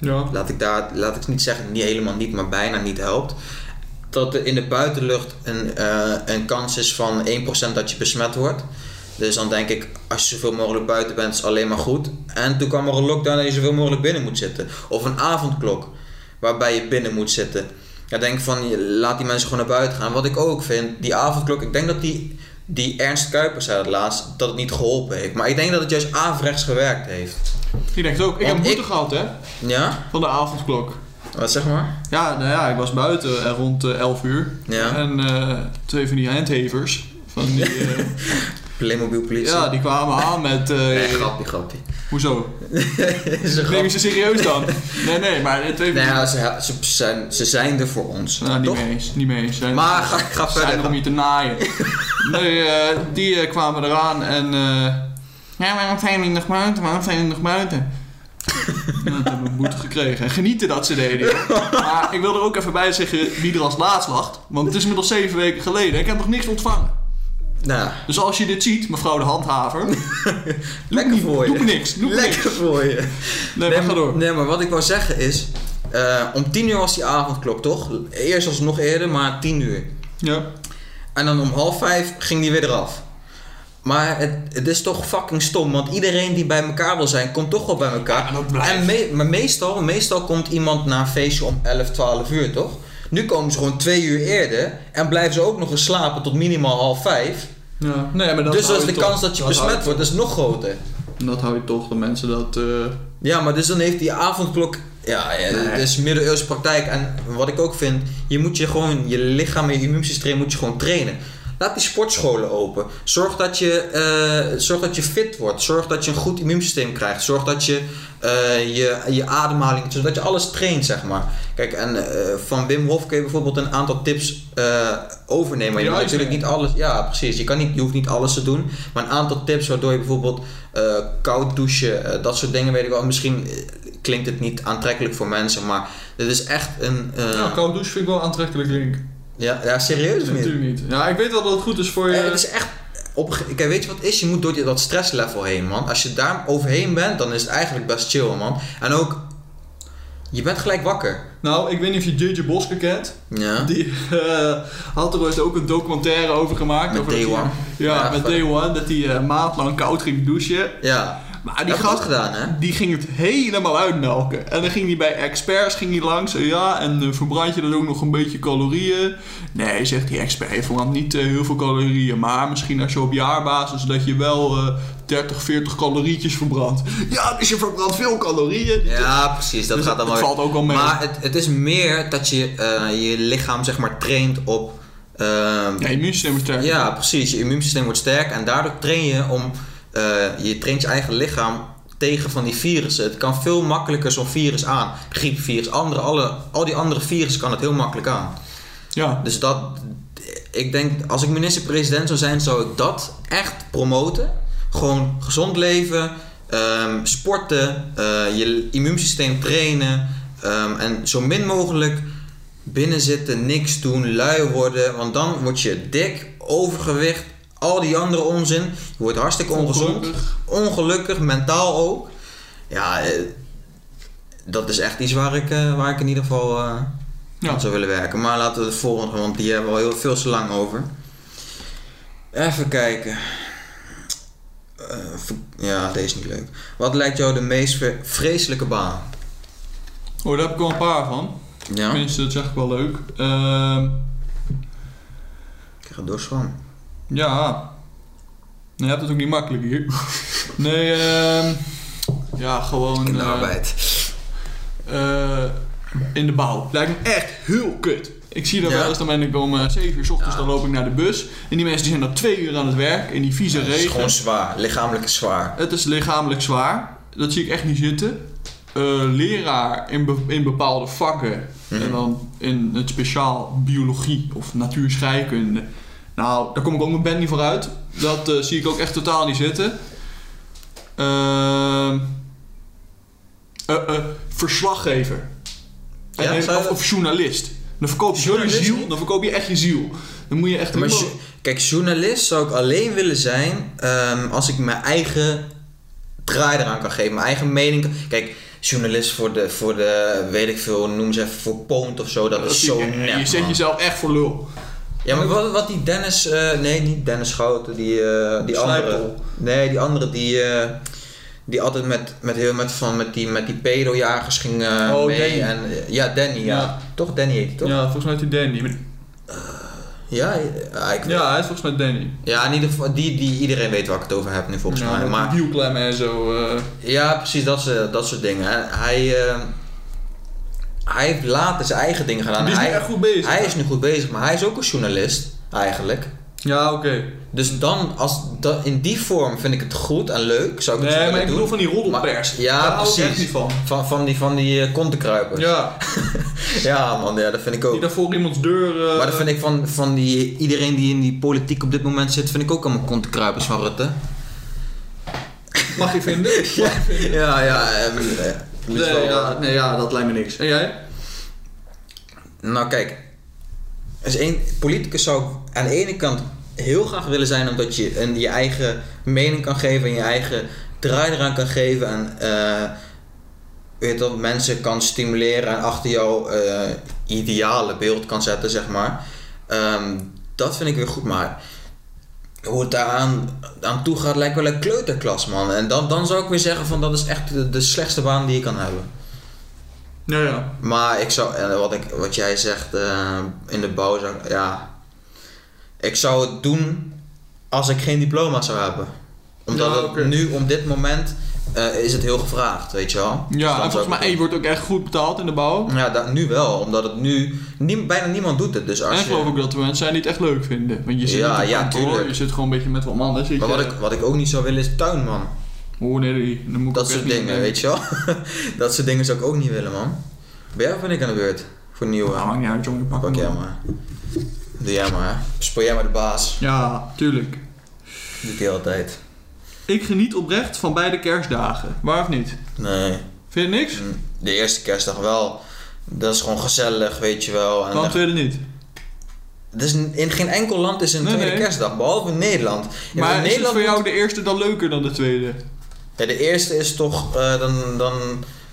Speaker 2: Ja.
Speaker 1: laat ik daar, laat ik niet zeggen niet helemaal niet, maar bijna niet helpt. Dat er in de buitenlucht een, eh, een kans is van 1% dat je besmet wordt. Dus dan denk ik, als je zoveel mogelijk buiten bent, is alleen maar goed. En toen kwam er een lockdown dat je zoveel mogelijk binnen moet zitten. Of een avondklok, waarbij je binnen moet zitten. Ik denk van, je- laat die mensen gewoon naar buiten gaan. Wat ik ook vind, die avondklok, ik denk dat die, die Ernst Kuipers zei dat laatst, dat het niet geholpen heeft. Maar ik denk dat het juist averechts gewerkt heeft.
Speaker 2: Ik denk het ook. Ik heb
Speaker 1: Want
Speaker 2: moeite
Speaker 1: ik-
Speaker 2: gehad, hè?
Speaker 1: Ja?
Speaker 2: Van de avondklok.
Speaker 1: Wat zeg maar?
Speaker 2: Ja, nou ja, ik was buiten eh, rond eh, 11 uur.
Speaker 1: Ja.
Speaker 2: En eh, twee van die handhavers. Van die, eh,
Speaker 1: Playmobil politie.
Speaker 2: ja, die kwamen aan met... eh,
Speaker 1: Nee, grapje, grapje.
Speaker 2: hoezo?
Speaker 1: is een
Speaker 2: Neem je
Speaker 1: grap.
Speaker 2: ze serieus dan? Nee, nee, maar eh, twee van
Speaker 1: Nou
Speaker 2: die...
Speaker 1: ja, ze, ze, zijn, ze zijn er voor ons.
Speaker 2: Nou, niet
Speaker 1: toch?
Speaker 2: mee eens. Niet mee eens. Zijn-
Speaker 1: Maar ga, ga
Speaker 2: zijn er om
Speaker 1: verder.
Speaker 2: je te naaien. nee, eh, die eh, kwamen eraan en... eh ja, waarom zijn jullie nog buiten? Waarom zijn jullie nog buiten? Ja, Nou, dat hebben we een boete gekregen. En genieten dat ze deden. Maar ik wil er ook even bij zeggen wie er als laatst lag. Want het is inmiddels zeven weken geleden. Ik heb nog niks ontvangen.
Speaker 1: Nou,
Speaker 2: Dus als je dit ziet, mevrouw de handhaver...
Speaker 1: lekker voor
Speaker 2: Doe
Speaker 1: je.
Speaker 2: niks. Doe niks.
Speaker 1: Lekker voor je.
Speaker 2: Nee, maar ga
Speaker 1: maar-
Speaker 2: door.
Speaker 1: nee, maar wat ik wou zeggen is... eh, om 10 uur was die avondklok, toch? Eerst als nog eerder, maar 10 uur.
Speaker 2: Ja.
Speaker 1: En dan om half vijf ging die weer eraf. Maar het, het is toch fucking stom, want iedereen die bij elkaar wil zijn, komt toch wel bij elkaar.
Speaker 2: Ja, dat blijft.
Speaker 1: En me- maar meestal, meestal komt iemand na een feestje om 11, 12 uur, toch? Nu komen ze gewoon twee uur eerder en blijven ze ook nog eens slapen tot minimaal half vijf.
Speaker 2: ja. Nee, maar dat
Speaker 1: dus dan
Speaker 2: hou
Speaker 1: is de
Speaker 2: toch-
Speaker 1: kans dat je
Speaker 2: hou
Speaker 1: besmet
Speaker 2: je-
Speaker 1: wordt is nog groter.
Speaker 2: Dat hou je toch, dat mensen dat... eh,
Speaker 1: Ja, maar dus dan heeft die avondklok Ja, ja
Speaker 2: Nee.
Speaker 1: het is middeleeuwse praktijk. En wat ik ook vind, je moet je gewoon, je lichaam en je immuunsysteem moet je gewoon trainen. Laat die sportscholen open. Zorg dat je, eh, zorg dat je fit wordt. Zorg dat je een goed immuunsysteem krijgt. Zorg dat je eh, je, je ademhaling, zodat je alles traint, zeg maar. Kijk, en eh, van Wim Hof kun je bijvoorbeeld een aantal tips eh, overnemen. Maar je moet
Speaker 2: Juist,
Speaker 1: natuurlijk
Speaker 2: ja.
Speaker 1: niet alles. Ja, precies. Je, kan niet, je hoeft niet alles te doen. Maar een aantal tips waardoor je bijvoorbeeld eh, koud douchen, eh, dat soort dingen weet ik wel. Misschien eh, klinkt het niet aantrekkelijk voor mensen, maar dit is echt een. eh,
Speaker 2: Ja, koud douche vind ik wel aantrekkelijk link.
Speaker 1: ja, ja, serieus niet.
Speaker 2: Natuurlijk niet. Nou, Ja, ik weet wel dat het goed is voor je.
Speaker 1: Eh, het is echt. Op, een ge- kijk, weet je wat het is? Je moet door die- dat stresslevel heen, man. Als je daar overheen bent, dan is het eigenlijk best chill, man. En ook, je bent gelijk wakker.
Speaker 2: Nou, ik weet niet of je JJ Boske kent.
Speaker 1: Ja.
Speaker 2: Die eh, had er ooit ook een documentaire over gemaakt.
Speaker 1: Met
Speaker 2: over dat
Speaker 1: Day
Speaker 2: hij-
Speaker 1: One.
Speaker 2: Ja,
Speaker 1: Ja,
Speaker 2: met
Speaker 1: fuck.
Speaker 2: Day One. Dat hij eh, maandlang koud ging douchen.
Speaker 1: Ja,
Speaker 2: Maar
Speaker 1: die
Speaker 2: die
Speaker 1: heb ik ook
Speaker 2: gast
Speaker 1: gedaan, hè?
Speaker 2: die ging het helemaal uitmelken. En dan ging hij bij experts ging hij langs. eh, Ja, en eh, verbrand je dan ook nog een beetje calorieën? Nee, zegt die expert, je verbrandt niet eh, heel veel calorieën. Maar misschien als je op jaarbasis dat je wel eh 30, 40 calorietjes verbrandt. Ja, dus je verbrandt veel calorieën.
Speaker 1: Ja, precies. Dat
Speaker 2: Dus
Speaker 1: gaat
Speaker 2: het-
Speaker 1: allemaal
Speaker 2: het valt ook wel mee.
Speaker 1: Maar het, het is meer dat je eh, je lichaam zeg maar traint op... ehm,
Speaker 2: Ja, je immuunsysteem is sterk.
Speaker 1: ja, precies. Je immuunsysteem wordt sterk en daardoor train je om... eh, je traint je eigen lichaam tegen van die virussen. Het kan veel makkelijker zo'n virus aan. Griepvirus, andere, alle, al die andere virussen kan het heel makkelijk aan.
Speaker 2: Ja.
Speaker 1: Dus dat, ik denk, als ik minister-president zou zijn, zou ik dat echt promoten. Gewoon gezond leven, ehm, sporten, eh, je immuunsysteem trainen ehm, en zo min mogelijk binnen zitten, niks doen, lui worden. Want dan word je dik, overgewicht, al die andere onzin. Je wordt hartstikke ongezond,
Speaker 2: Ongelukkig.
Speaker 1: ongelukkig, mentaal ook. Ja, eh, dat is echt iets waar ik, eh, waar ik in ieder geval. eh,
Speaker 2: Ja.
Speaker 1: aan zou willen werken. Maar laten we de volgende, want die hebben we al heel veel te lang over. Even kijken. Eh, v- ja, deze is niet leuk. Wat lijkt jou de meest vre- vreselijke baan?
Speaker 2: Oh, daar heb ik wel een paar van.
Speaker 1: Ja? Ik
Speaker 2: Tenminste, dat is echt wel leuk. Ehm,
Speaker 1: krijg er dorst van.
Speaker 2: ja. Nee, je hebt het ook niet makkelijk hier. Nee, ehm ja, gewoon... eh,
Speaker 1: Kinderarbeid.
Speaker 2: eh, in de bouw. Lijkt me echt heel kut. Ik zie dat
Speaker 1: Ja.
Speaker 2: wel eens, dan ben ik om eh, 7 uur s ochtends,
Speaker 1: Ja.
Speaker 2: dan loop ik naar de bus. En die mensen die zijn dan 2 uur aan het werk in die vieze
Speaker 1: Het is
Speaker 2: regen.
Speaker 1: gewoon zwaar. Lichamelijk is zwaar.
Speaker 2: Het is lichamelijk zwaar. Dat zie ik echt niet zitten. Eh, leraar in, be- in bepaalde vakken.
Speaker 1: Mhm.
Speaker 2: En dan in het speciaal biologie of natuurscheikunde. Nou, daar kom ik ook mijn band niet voor uit. Dat eh, zie ik ook echt totaal niet zitten. Ehm, eh, eh, verslaggever. En-
Speaker 1: Ja,
Speaker 2: en-
Speaker 1: zou je
Speaker 2: of,
Speaker 1: dat-
Speaker 2: of journalist. Dan verkoop je zo je
Speaker 1: Journalist
Speaker 2: ziel.
Speaker 1: niet?
Speaker 2: Dan verkoop je echt je ziel. Dan moet je echt...
Speaker 1: Maar
Speaker 2: helemaal-
Speaker 1: jo- kijk, journalist zou ik alleen willen zijn ehm, als ik mijn eigen draai eraan kan geven, mijn eigen mening. kan- Kijk, journalist voor de, voor de weet ik veel, noem ze even voor Poont of zo, dat,
Speaker 2: Dat
Speaker 1: is
Speaker 2: zie
Speaker 1: zo
Speaker 2: ik- eh,
Speaker 1: nep.
Speaker 2: je zet
Speaker 1: man.
Speaker 2: jezelf echt voor lul.
Speaker 1: Ja, maar wat, wat die Dennis, eh, nee, niet Dennis Schouten, die, eh, die andere.
Speaker 2: Slijpel.
Speaker 1: Nee, die andere die, eh, die altijd met, met, heel, met, van, met die, met die pedojagers ging eh,
Speaker 2: Oh,
Speaker 1: mee.
Speaker 2: Danny.
Speaker 1: En, eh, ja, Danny, ja.
Speaker 2: Ja.
Speaker 1: Toch Danny heet hij, toch?
Speaker 2: Ja, volgens mij is die Danny.
Speaker 1: Ja, eh, ik, ja.
Speaker 2: Ja, hij is volgens mij Danny.
Speaker 1: in ieder geval, die, die, iedereen weet waar ik het over heb nu volgens
Speaker 2: Ja,
Speaker 1: mij.
Speaker 2: met
Speaker 1: Maar
Speaker 2: die wielklemmen en zo. eh.
Speaker 1: Ja, precies, dat, soort- dat soort dingen. hè. Hij, eh, hij heeft later zijn eigen dingen gedaan.
Speaker 2: die is nu
Speaker 1: hij,
Speaker 2: echt goed bezig.
Speaker 1: hij is nu goed bezig, maar hij is ook een journalist, eigenlijk.
Speaker 2: Ja, oké.
Speaker 1: Dus dan, als, dat, in die vorm vind ik het goed en leuk, zou ik het zo
Speaker 2: Nee, maar
Speaker 1: willen
Speaker 2: ik
Speaker 1: doen.
Speaker 2: bedoel van die roddelpers.
Speaker 1: Maar- ja,
Speaker 2: Daar hou ik
Speaker 1: precies.
Speaker 2: echt niet van.
Speaker 1: Van, van die, van die eh, kontenkruipen. Ja.
Speaker 2: Ja,
Speaker 1: man, ja, dat vind ik
Speaker 2: die
Speaker 1: ook.
Speaker 2: daarvoor iemands deur... eh,
Speaker 1: Maar dat vind ik van, van die, iedereen die in die politiek op dit moment zit, vind ik ook allemaal kontenkruipers van Rutte.
Speaker 2: Mag je vinden?
Speaker 1: Ja, ja, ja. ehm, eh, moet
Speaker 2: Ah, Nee,
Speaker 1: wel-
Speaker 2: ja, nee, ja, dat lijkt me niks. En jij?
Speaker 1: Nou kijk, als een politicus zou ik aan de ene kant heel graag willen zijn omdat je een, je eigen mening kan geven en je eigen draai eraan kan geven en eh, weet dat mensen kan stimuleren en achter jouw eh, ideale beeld kan zetten zeg maar. Ehm, dat vind ik weer goed, maar hoe het daaraan aan toe gaat lijkt wel een kleuterklas man. En dan, dan zou ik weer zeggen van dat is echt de, de slechtste baan die je kan hebben.
Speaker 2: Ja, ja.
Speaker 1: Maar ik zou, eh, wat, ik, wat jij zegt eh, in de bouw, zou, ik- ja. Ik zou het doen als ik geen diploma zou hebben. Omdat
Speaker 2: Ja,
Speaker 1: het
Speaker 2: oké.
Speaker 1: nu, om dit moment, eh, is het heel gevraagd, weet je wel. Dus dan
Speaker 2: Ja, en
Speaker 1: zou ik
Speaker 2: volgens mij
Speaker 1: het
Speaker 2: wordt ook echt goed betaald in de bouw.
Speaker 1: doen. Ja, da- nu wel, omdat het nu... nie- bijna niemand doet het, dus
Speaker 2: En
Speaker 1: als
Speaker 2: ik geloof
Speaker 1: je...
Speaker 2: ook dat er mensen zijn die het echt leuk vinden. Want je zit
Speaker 1: Ja,
Speaker 2: niet op
Speaker 1: ja,
Speaker 2: kantoor,
Speaker 1: tuurlijk.
Speaker 2: je zit gewoon een beetje met wat mannen. Zit
Speaker 1: Maar wat
Speaker 2: je-
Speaker 1: ik, wat ik ook niet zou willen is tuinman.
Speaker 2: Oh nee, die- dan moet ik
Speaker 1: Dat
Speaker 2: ook echt
Speaker 1: soort
Speaker 2: niet
Speaker 1: dingen,
Speaker 2: mee.
Speaker 1: weet je wel. dat soort dingen zou ik ook niet willen, man. Ben jij of ben ik aan de beurt? Voor nieuwe.
Speaker 2: Ja, maakt niet uit, jongen, pak
Speaker 1: Pak jij
Speaker 2: hem.
Speaker 1: maar. Doe jij maar. Speel jij maar de baas.
Speaker 2: Ja, tuurlijk.
Speaker 1: Doe ik de hele tijd.
Speaker 2: Ik geniet oprecht van beide kerstdagen. Waar of niet?
Speaker 1: Nee.
Speaker 2: Vind je niks?
Speaker 1: De eerste kerstdag wel. Dat is gewoon gezellig, weet je wel. En
Speaker 2: Kan het tweede niet.
Speaker 1: het is een- in geen enkel land is een
Speaker 2: Nee,
Speaker 1: tweede
Speaker 2: nee.
Speaker 1: kerstdag, behalve in Nederland. Ja,
Speaker 2: maar
Speaker 1: in
Speaker 2: is het
Speaker 1: Nederland
Speaker 2: voor jou
Speaker 1: moet-
Speaker 2: de eerste dan leuker dan de tweede?
Speaker 1: Ja, de eerste is toch, eh, dan, dan,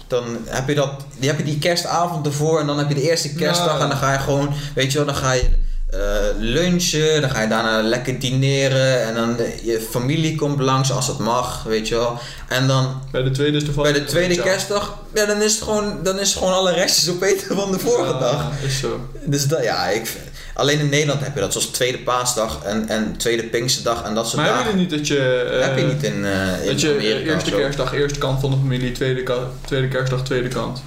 Speaker 1: dan heb je dat, die heb je die kerstavond ervoor en dan heb je de eerste kerstdag
Speaker 2: Ja.
Speaker 1: en dan ga je gewoon, weet je wel, dan ga je eh, lunchen, dan ga je daarna lekker dineren en dan eh, je familie komt langs als het mag, weet je wel. En dan
Speaker 2: Bij de tweede is de
Speaker 1: bij de tweede kerstdag, ja, dan is het gewoon, dan is het gewoon alle restjes opeten van de vorige dag.
Speaker 2: is zo.
Speaker 1: Dus dat, ja, ik, vind- alleen in Nederland heb je dat, zoals tweede paasdag en, en tweede Pinksterdag en dat soort
Speaker 2: Maar heb
Speaker 1: dagen.
Speaker 2: je niet dat je... eh,
Speaker 1: heb je niet in, eh in
Speaker 2: dat je
Speaker 1: Amerika of
Speaker 2: eerste
Speaker 1: zo.
Speaker 2: kerstdag eerste kant van de familie, tweede, ka- tweede kerstdag tweede kant?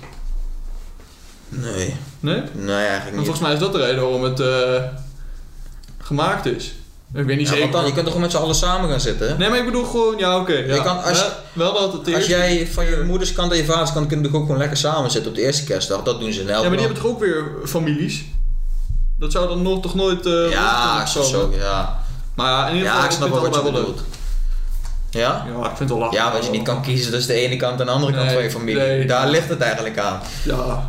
Speaker 1: Nee,
Speaker 2: Nee?
Speaker 1: nee eigenlijk
Speaker 2: Want
Speaker 1: niet.
Speaker 2: volgens mij is dat de reden waarom het eh, gemaakt is. Ik weet niet
Speaker 1: Ja,
Speaker 2: zeker.
Speaker 1: want dan, je kunt toch gewoon met z'n allen samen gaan zitten?
Speaker 2: Nee, maar ik bedoel gewoon, ja, oké. ja.
Speaker 1: Je kan- als-
Speaker 2: Wel- wel dat het
Speaker 1: Als
Speaker 2: eerst.
Speaker 1: jij van je moeders kant en je vaders kant kunt natuurlijk ook gewoon lekker samen zitten op de eerste kerstdag. Dat doen ze in elk
Speaker 2: Ja, maar die
Speaker 1: land.
Speaker 2: hebben toch ook weer families? Dat zou dan nog toch nooit. eh,
Speaker 1: Ja,
Speaker 2: los kunnen
Speaker 1: zo,
Speaker 2: komen?
Speaker 1: zo, ja.
Speaker 2: Maar ja, in ieder geval,
Speaker 1: Ja, ik snap wel
Speaker 2: vind
Speaker 1: wat je
Speaker 2: het allebei wel
Speaker 1: bedoelt. Ja?
Speaker 2: leuk. Ja, ik vind het wel lachen.
Speaker 1: Ja, want je niet kan kiezen tussen de ene kant en de andere kant
Speaker 2: Nee,
Speaker 1: van je familie.
Speaker 2: nee.
Speaker 1: Daar ligt het eigenlijk aan.
Speaker 2: Ja,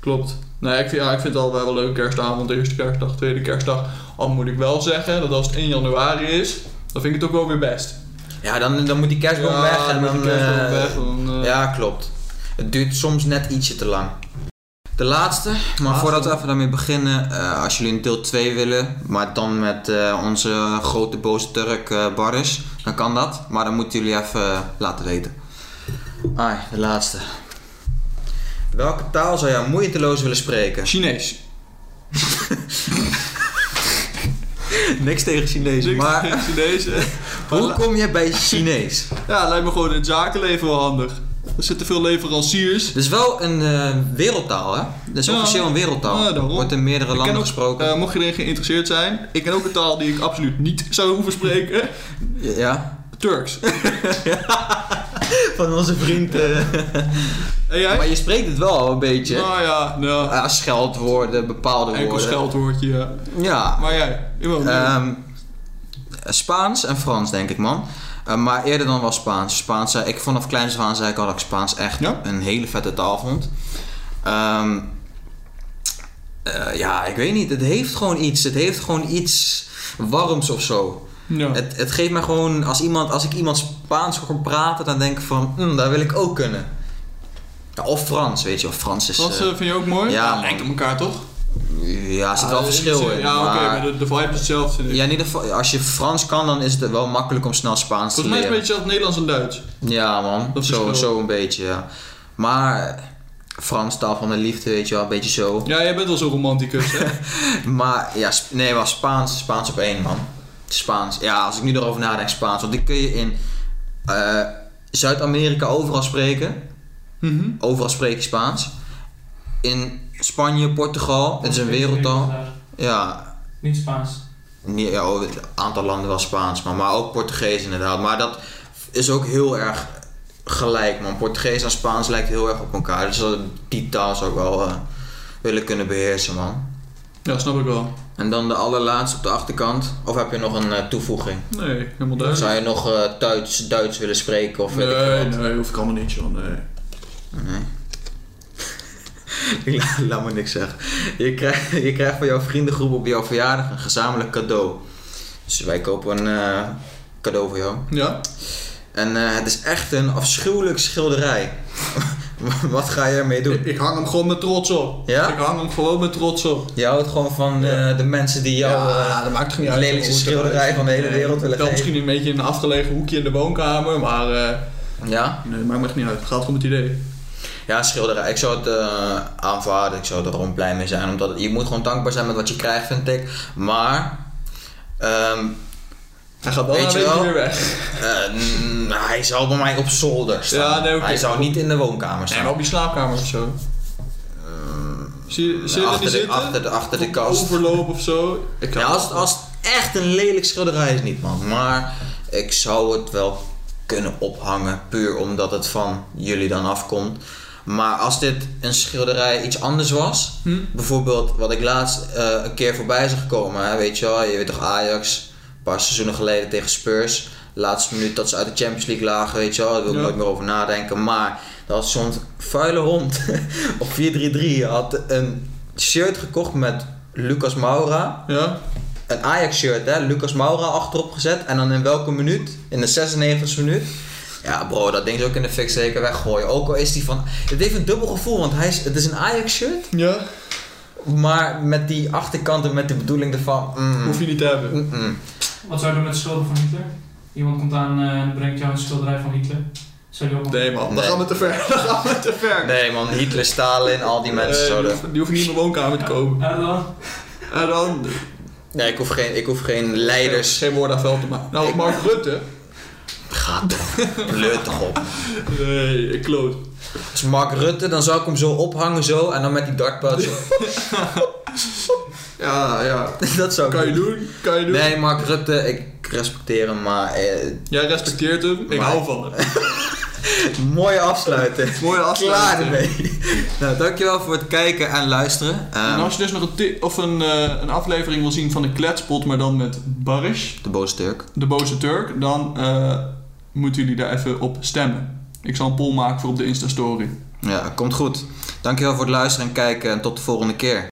Speaker 2: klopt. Nee, ik vind, ja, ik vind het allebei wel leuk. Kerstavond, eerste kerstdag, tweede kerstdag. Al moet ik wel zeggen dat als het 1 januari is, dan vind ik het ook wel weer best.
Speaker 1: Ja, dan, dan moet die kerstboom
Speaker 2: Ja,
Speaker 1: weg en
Speaker 2: dan moet
Speaker 1: dan...
Speaker 2: die kerstboom
Speaker 1: eh,
Speaker 2: weg, dan, eh,
Speaker 1: Ja, klopt. Het duurt soms net ietsje te lang. De laatste, maar voordat we even daarmee beginnen, eh, als jullie een deel 2 willen, maar dan met eh, onze grote boze Turk eh Baris, dan kan dat. Maar dan moeten jullie even eh, laten weten. Ai, de laatste. Welke taal zou jij moeiteloos willen spreken?
Speaker 2: Chinees.
Speaker 1: Niks tegen Chinees, maar
Speaker 2: Chinees. eh,
Speaker 1: hoe kom je bij Chinees?
Speaker 2: Ja, lijkt me gewoon in het zakenleven wel handig. Er zitten veel leveranciers.
Speaker 1: Het is wel een eh, wereldtaal, hè? Het is
Speaker 2: Ja.
Speaker 1: officieel een wereldtaal.
Speaker 2: Ja, daarom.
Speaker 1: Wordt in meerdere
Speaker 2: ken
Speaker 1: landen
Speaker 2: ook,
Speaker 1: gesproken.
Speaker 2: eh, mocht je erin geïnteresseerd zijn, ik ken ook een taal die ik absoluut niet zou hoeven spreken.
Speaker 1: ja.
Speaker 2: Turks.
Speaker 1: Van onze vriend. eh,
Speaker 2: En jij?
Speaker 1: Maar je spreekt het wel een beetje.
Speaker 2: Nou ja, nou,
Speaker 1: Ja, scheldwoorden, bepaalde
Speaker 2: enkel
Speaker 1: woorden.
Speaker 2: scheldwoordje, ja.
Speaker 1: Ja.
Speaker 2: Maar jij? Ik wil
Speaker 1: Ehm, Spaans en Frans, denk ik, man. Eh, maar eerder dan wel Spaans. Spaans zei ik vanaf kleins af aan zei ik al dat ik Spaans echt
Speaker 2: Ja?
Speaker 1: een hele vette taal vond. Ehm, eh, ja, ik weet niet. Het heeft gewoon iets. Het heeft gewoon iets warms of zo.
Speaker 2: ja.
Speaker 1: Het, het geeft mij gewoon, als, iemand, als ik iemand Spaans hoor praten, dan denk ik van, "Mm, dat wil ik ook kunnen. Ja, of Frans, weet je, of Frans is.
Speaker 2: Frans
Speaker 1: eh,
Speaker 2: eh, vind je ook mooi?
Speaker 1: ja, man.
Speaker 2: lijkt op elkaar toch?
Speaker 1: ja, er zit wel
Speaker 2: Ah,
Speaker 1: verschil in.
Speaker 2: Ja, oké,
Speaker 1: maar-
Speaker 2: maar de, de vibe is hetzelfde. vind ik.
Speaker 1: Ja, in ieder geval, als je Frans kan, dan is het wel makkelijk om snel Spaans te
Speaker 2: Volgens mij is het
Speaker 1: leren.
Speaker 2: een beetje zelfs Nederlands en Duits.
Speaker 1: Ja, man,
Speaker 2: Dat
Speaker 1: zo,
Speaker 2: verschil.
Speaker 1: zo een beetje, ja. Maar Frans, taal van de liefde, weet je wel, een beetje zo.
Speaker 2: Ja, jij bent wel zo'n romanticus, hè?
Speaker 1: Maar ja, Sp- nee, maar Spaans, Spaans op één, man. Spaans, ja, als ik nu erover nadenk, Spaans. Want die kun je in eh, Zuid-Amerika overal spreken.
Speaker 2: Mhm.
Speaker 1: Overal spreek je Spaans. In Spanje, Portugal, het is een wereldtaal. Ja,
Speaker 3: Niet Spaans.
Speaker 1: Nee, ja, oh, een aantal landen wel Spaans, maar, maar ook Portugees inderdaad. Maar dat is ook heel erg gelijk, man. Portugees en Spaans lijkt heel erg op elkaar. Dus dat- die taal zou ik wel eh, willen kunnen beheersen, man.
Speaker 2: Ja, snap ik wel.
Speaker 1: En dan de allerlaatste op de achterkant. Of heb je nog een eh, toevoeging?
Speaker 2: Nee, helemaal Duits.
Speaker 1: Zou je nog eh, Duits, Duits willen spreken of weet ik veel
Speaker 2: Nee,
Speaker 1: wat?
Speaker 2: nee, hoef ik allemaal niet, joh. Nee.
Speaker 1: Ik la- Laat me niks zeggen. Je krijgt, je krijgt van jouw vriendengroep op jouw verjaardag een gezamenlijk cadeau. Dus wij kopen een eh, cadeau voor jou.
Speaker 2: Ja?
Speaker 1: En eh, het is echt een afschuwelijk schilderij. Wat ga je ermee doen?
Speaker 2: Ik, ik hang hem gewoon met trots op.
Speaker 1: Ja?
Speaker 2: Ik hang hem gewoon met trots op.
Speaker 1: Je houdt gewoon van eh, de mensen die jou eh,
Speaker 2: dat maakt
Speaker 1: het lelijkste schilderij van de hele wereld willen
Speaker 2: Wel
Speaker 1: geven.
Speaker 2: misschien een beetje in een afgelegen hoekje in de woonkamer, maar eh
Speaker 1: Ja?
Speaker 2: nee, maakt me echt niet uit. Het gaat gewoon met het idee.
Speaker 1: Ja, schilderij. Ik zou het eh, aanvaarden. Ik zou er gewoon blij mee zijn. Omdat je moet gewoon dankbaar zijn met wat je krijgt, vind ik. Maar... ehm,
Speaker 2: Hij gaat wel
Speaker 1: Weet
Speaker 2: een
Speaker 1: je
Speaker 2: beetje
Speaker 1: wel?
Speaker 2: weer weg.
Speaker 1: Eh, mm, hij zou bij mij op zolder staan.
Speaker 2: Ja, nee, oké.
Speaker 1: Hij zou niet in de woonkamer
Speaker 2: Nee,
Speaker 1: staan.
Speaker 2: maar op je slaapkamer of zo. Zie je, zie je er
Speaker 1: Eh, achter,
Speaker 2: niet
Speaker 1: de,
Speaker 2: zitten?
Speaker 1: achter, de, achter de
Speaker 2: Op
Speaker 1: kast.
Speaker 2: Overloop of zo. Ik
Speaker 1: Ja, als, het, als het echt een lelijk schilderij is niet, man. Maar ik zou het wel kunnen ophangen. Puur omdat het van jullie dan afkomt. Maar als dit een schilderij iets anders was.
Speaker 2: Hm?
Speaker 1: Bijvoorbeeld wat ik laatst eh, een keer voorbij is gekomen. Hè, weet je wel, je weet toch Ajax. Een paar seizoenen geleden tegen Spurs. Laatste minuut dat ze uit de Champions League lagen. Weet je wel, daar wil ik
Speaker 2: Ja.
Speaker 1: nooit meer over nadenken. Maar dat was zo'n vuile hond. Op 4-3-3 had een shirt gekocht met Lucas Moura
Speaker 2: Ja?
Speaker 1: een Ajax-shirt, hè? Lucas Moura achterop gezet. En dan in welke minuut? In de 96e minuut. Ja, bro, dat ding is ook in de fik zeker weggooien. Ook al is die van. Het heeft een dubbel gevoel, want hij is, het is een Ajax-shirt.
Speaker 2: Ja?
Speaker 1: Maar met die achterkanten, met de bedoeling ervan. mm,
Speaker 2: Hoef je niet te hebben.
Speaker 1: mm, mm.
Speaker 3: Wat zou je doen met de schilder van Hitler? Iemand komt aan eh, en brengt jou een schilderij van Hitler. Zou je ook
Speaker 2: Nee man, dan
Speaker 1: Nee.
Speaker 2: gaan we te ver. Dan gaan we te ver.
Speaker 1: Nee, man, Hitler, Stalin, al die mensen
Speaker 2: Eh, die,
Speaker 1: zouden.
Speaker 2: hoeven, die hoeven niet in mijn woonkamer te komen.
Speaker 3: Erdogan?
Speaker 2: En dan...
Speaker 1: Nee, ik hoef geen, ik hoef geen leiders.
Speaker 2: Geen woord aan veld te maken. Nou, Mark Rutte.
Speaker 1: Ga toch, pleur toch op.
Speaker 2: Nee, Eh, ik kloot.
Speaker 1: Als Dus Mark Rutte, dan zou ik hem zo ophangen, zo. En dan met die dartpad. zo.
Speaker 2: Ja, ja.
Speaker 1: dat zou ik
Speaker 2: Kan je doen, kan je doen.
Speaker 1: Nee, Mark Rutte, ik respecteer hem, maar eh,
Speaker 2: Jij respecteert hem, ik
Speaker 1: Maar-
Speaker 2: hou van hem.
Speaker 1: Mooi afsluiten.
Speaker 2: Mooie afsluiting.
Speaker 1: Klaar ermee. Nou, dankjewel voor het kijken en luisteren. Ehm,
Speaker 2: En als je dus nog een, ti- of een, eh, een aflevering wil zien van de kletspot, maar dan met Barish,
Speaker 1: de boze Turk.
Speaker 2: de boze Turk, dan eh, moeten jullie daar even op stemmen. Ik zal een poll maken voor op de Insta-story.
Speaker 1: Ja, komt goed. Dankjewel voor het luisteren en kijken en tot de volgende keer.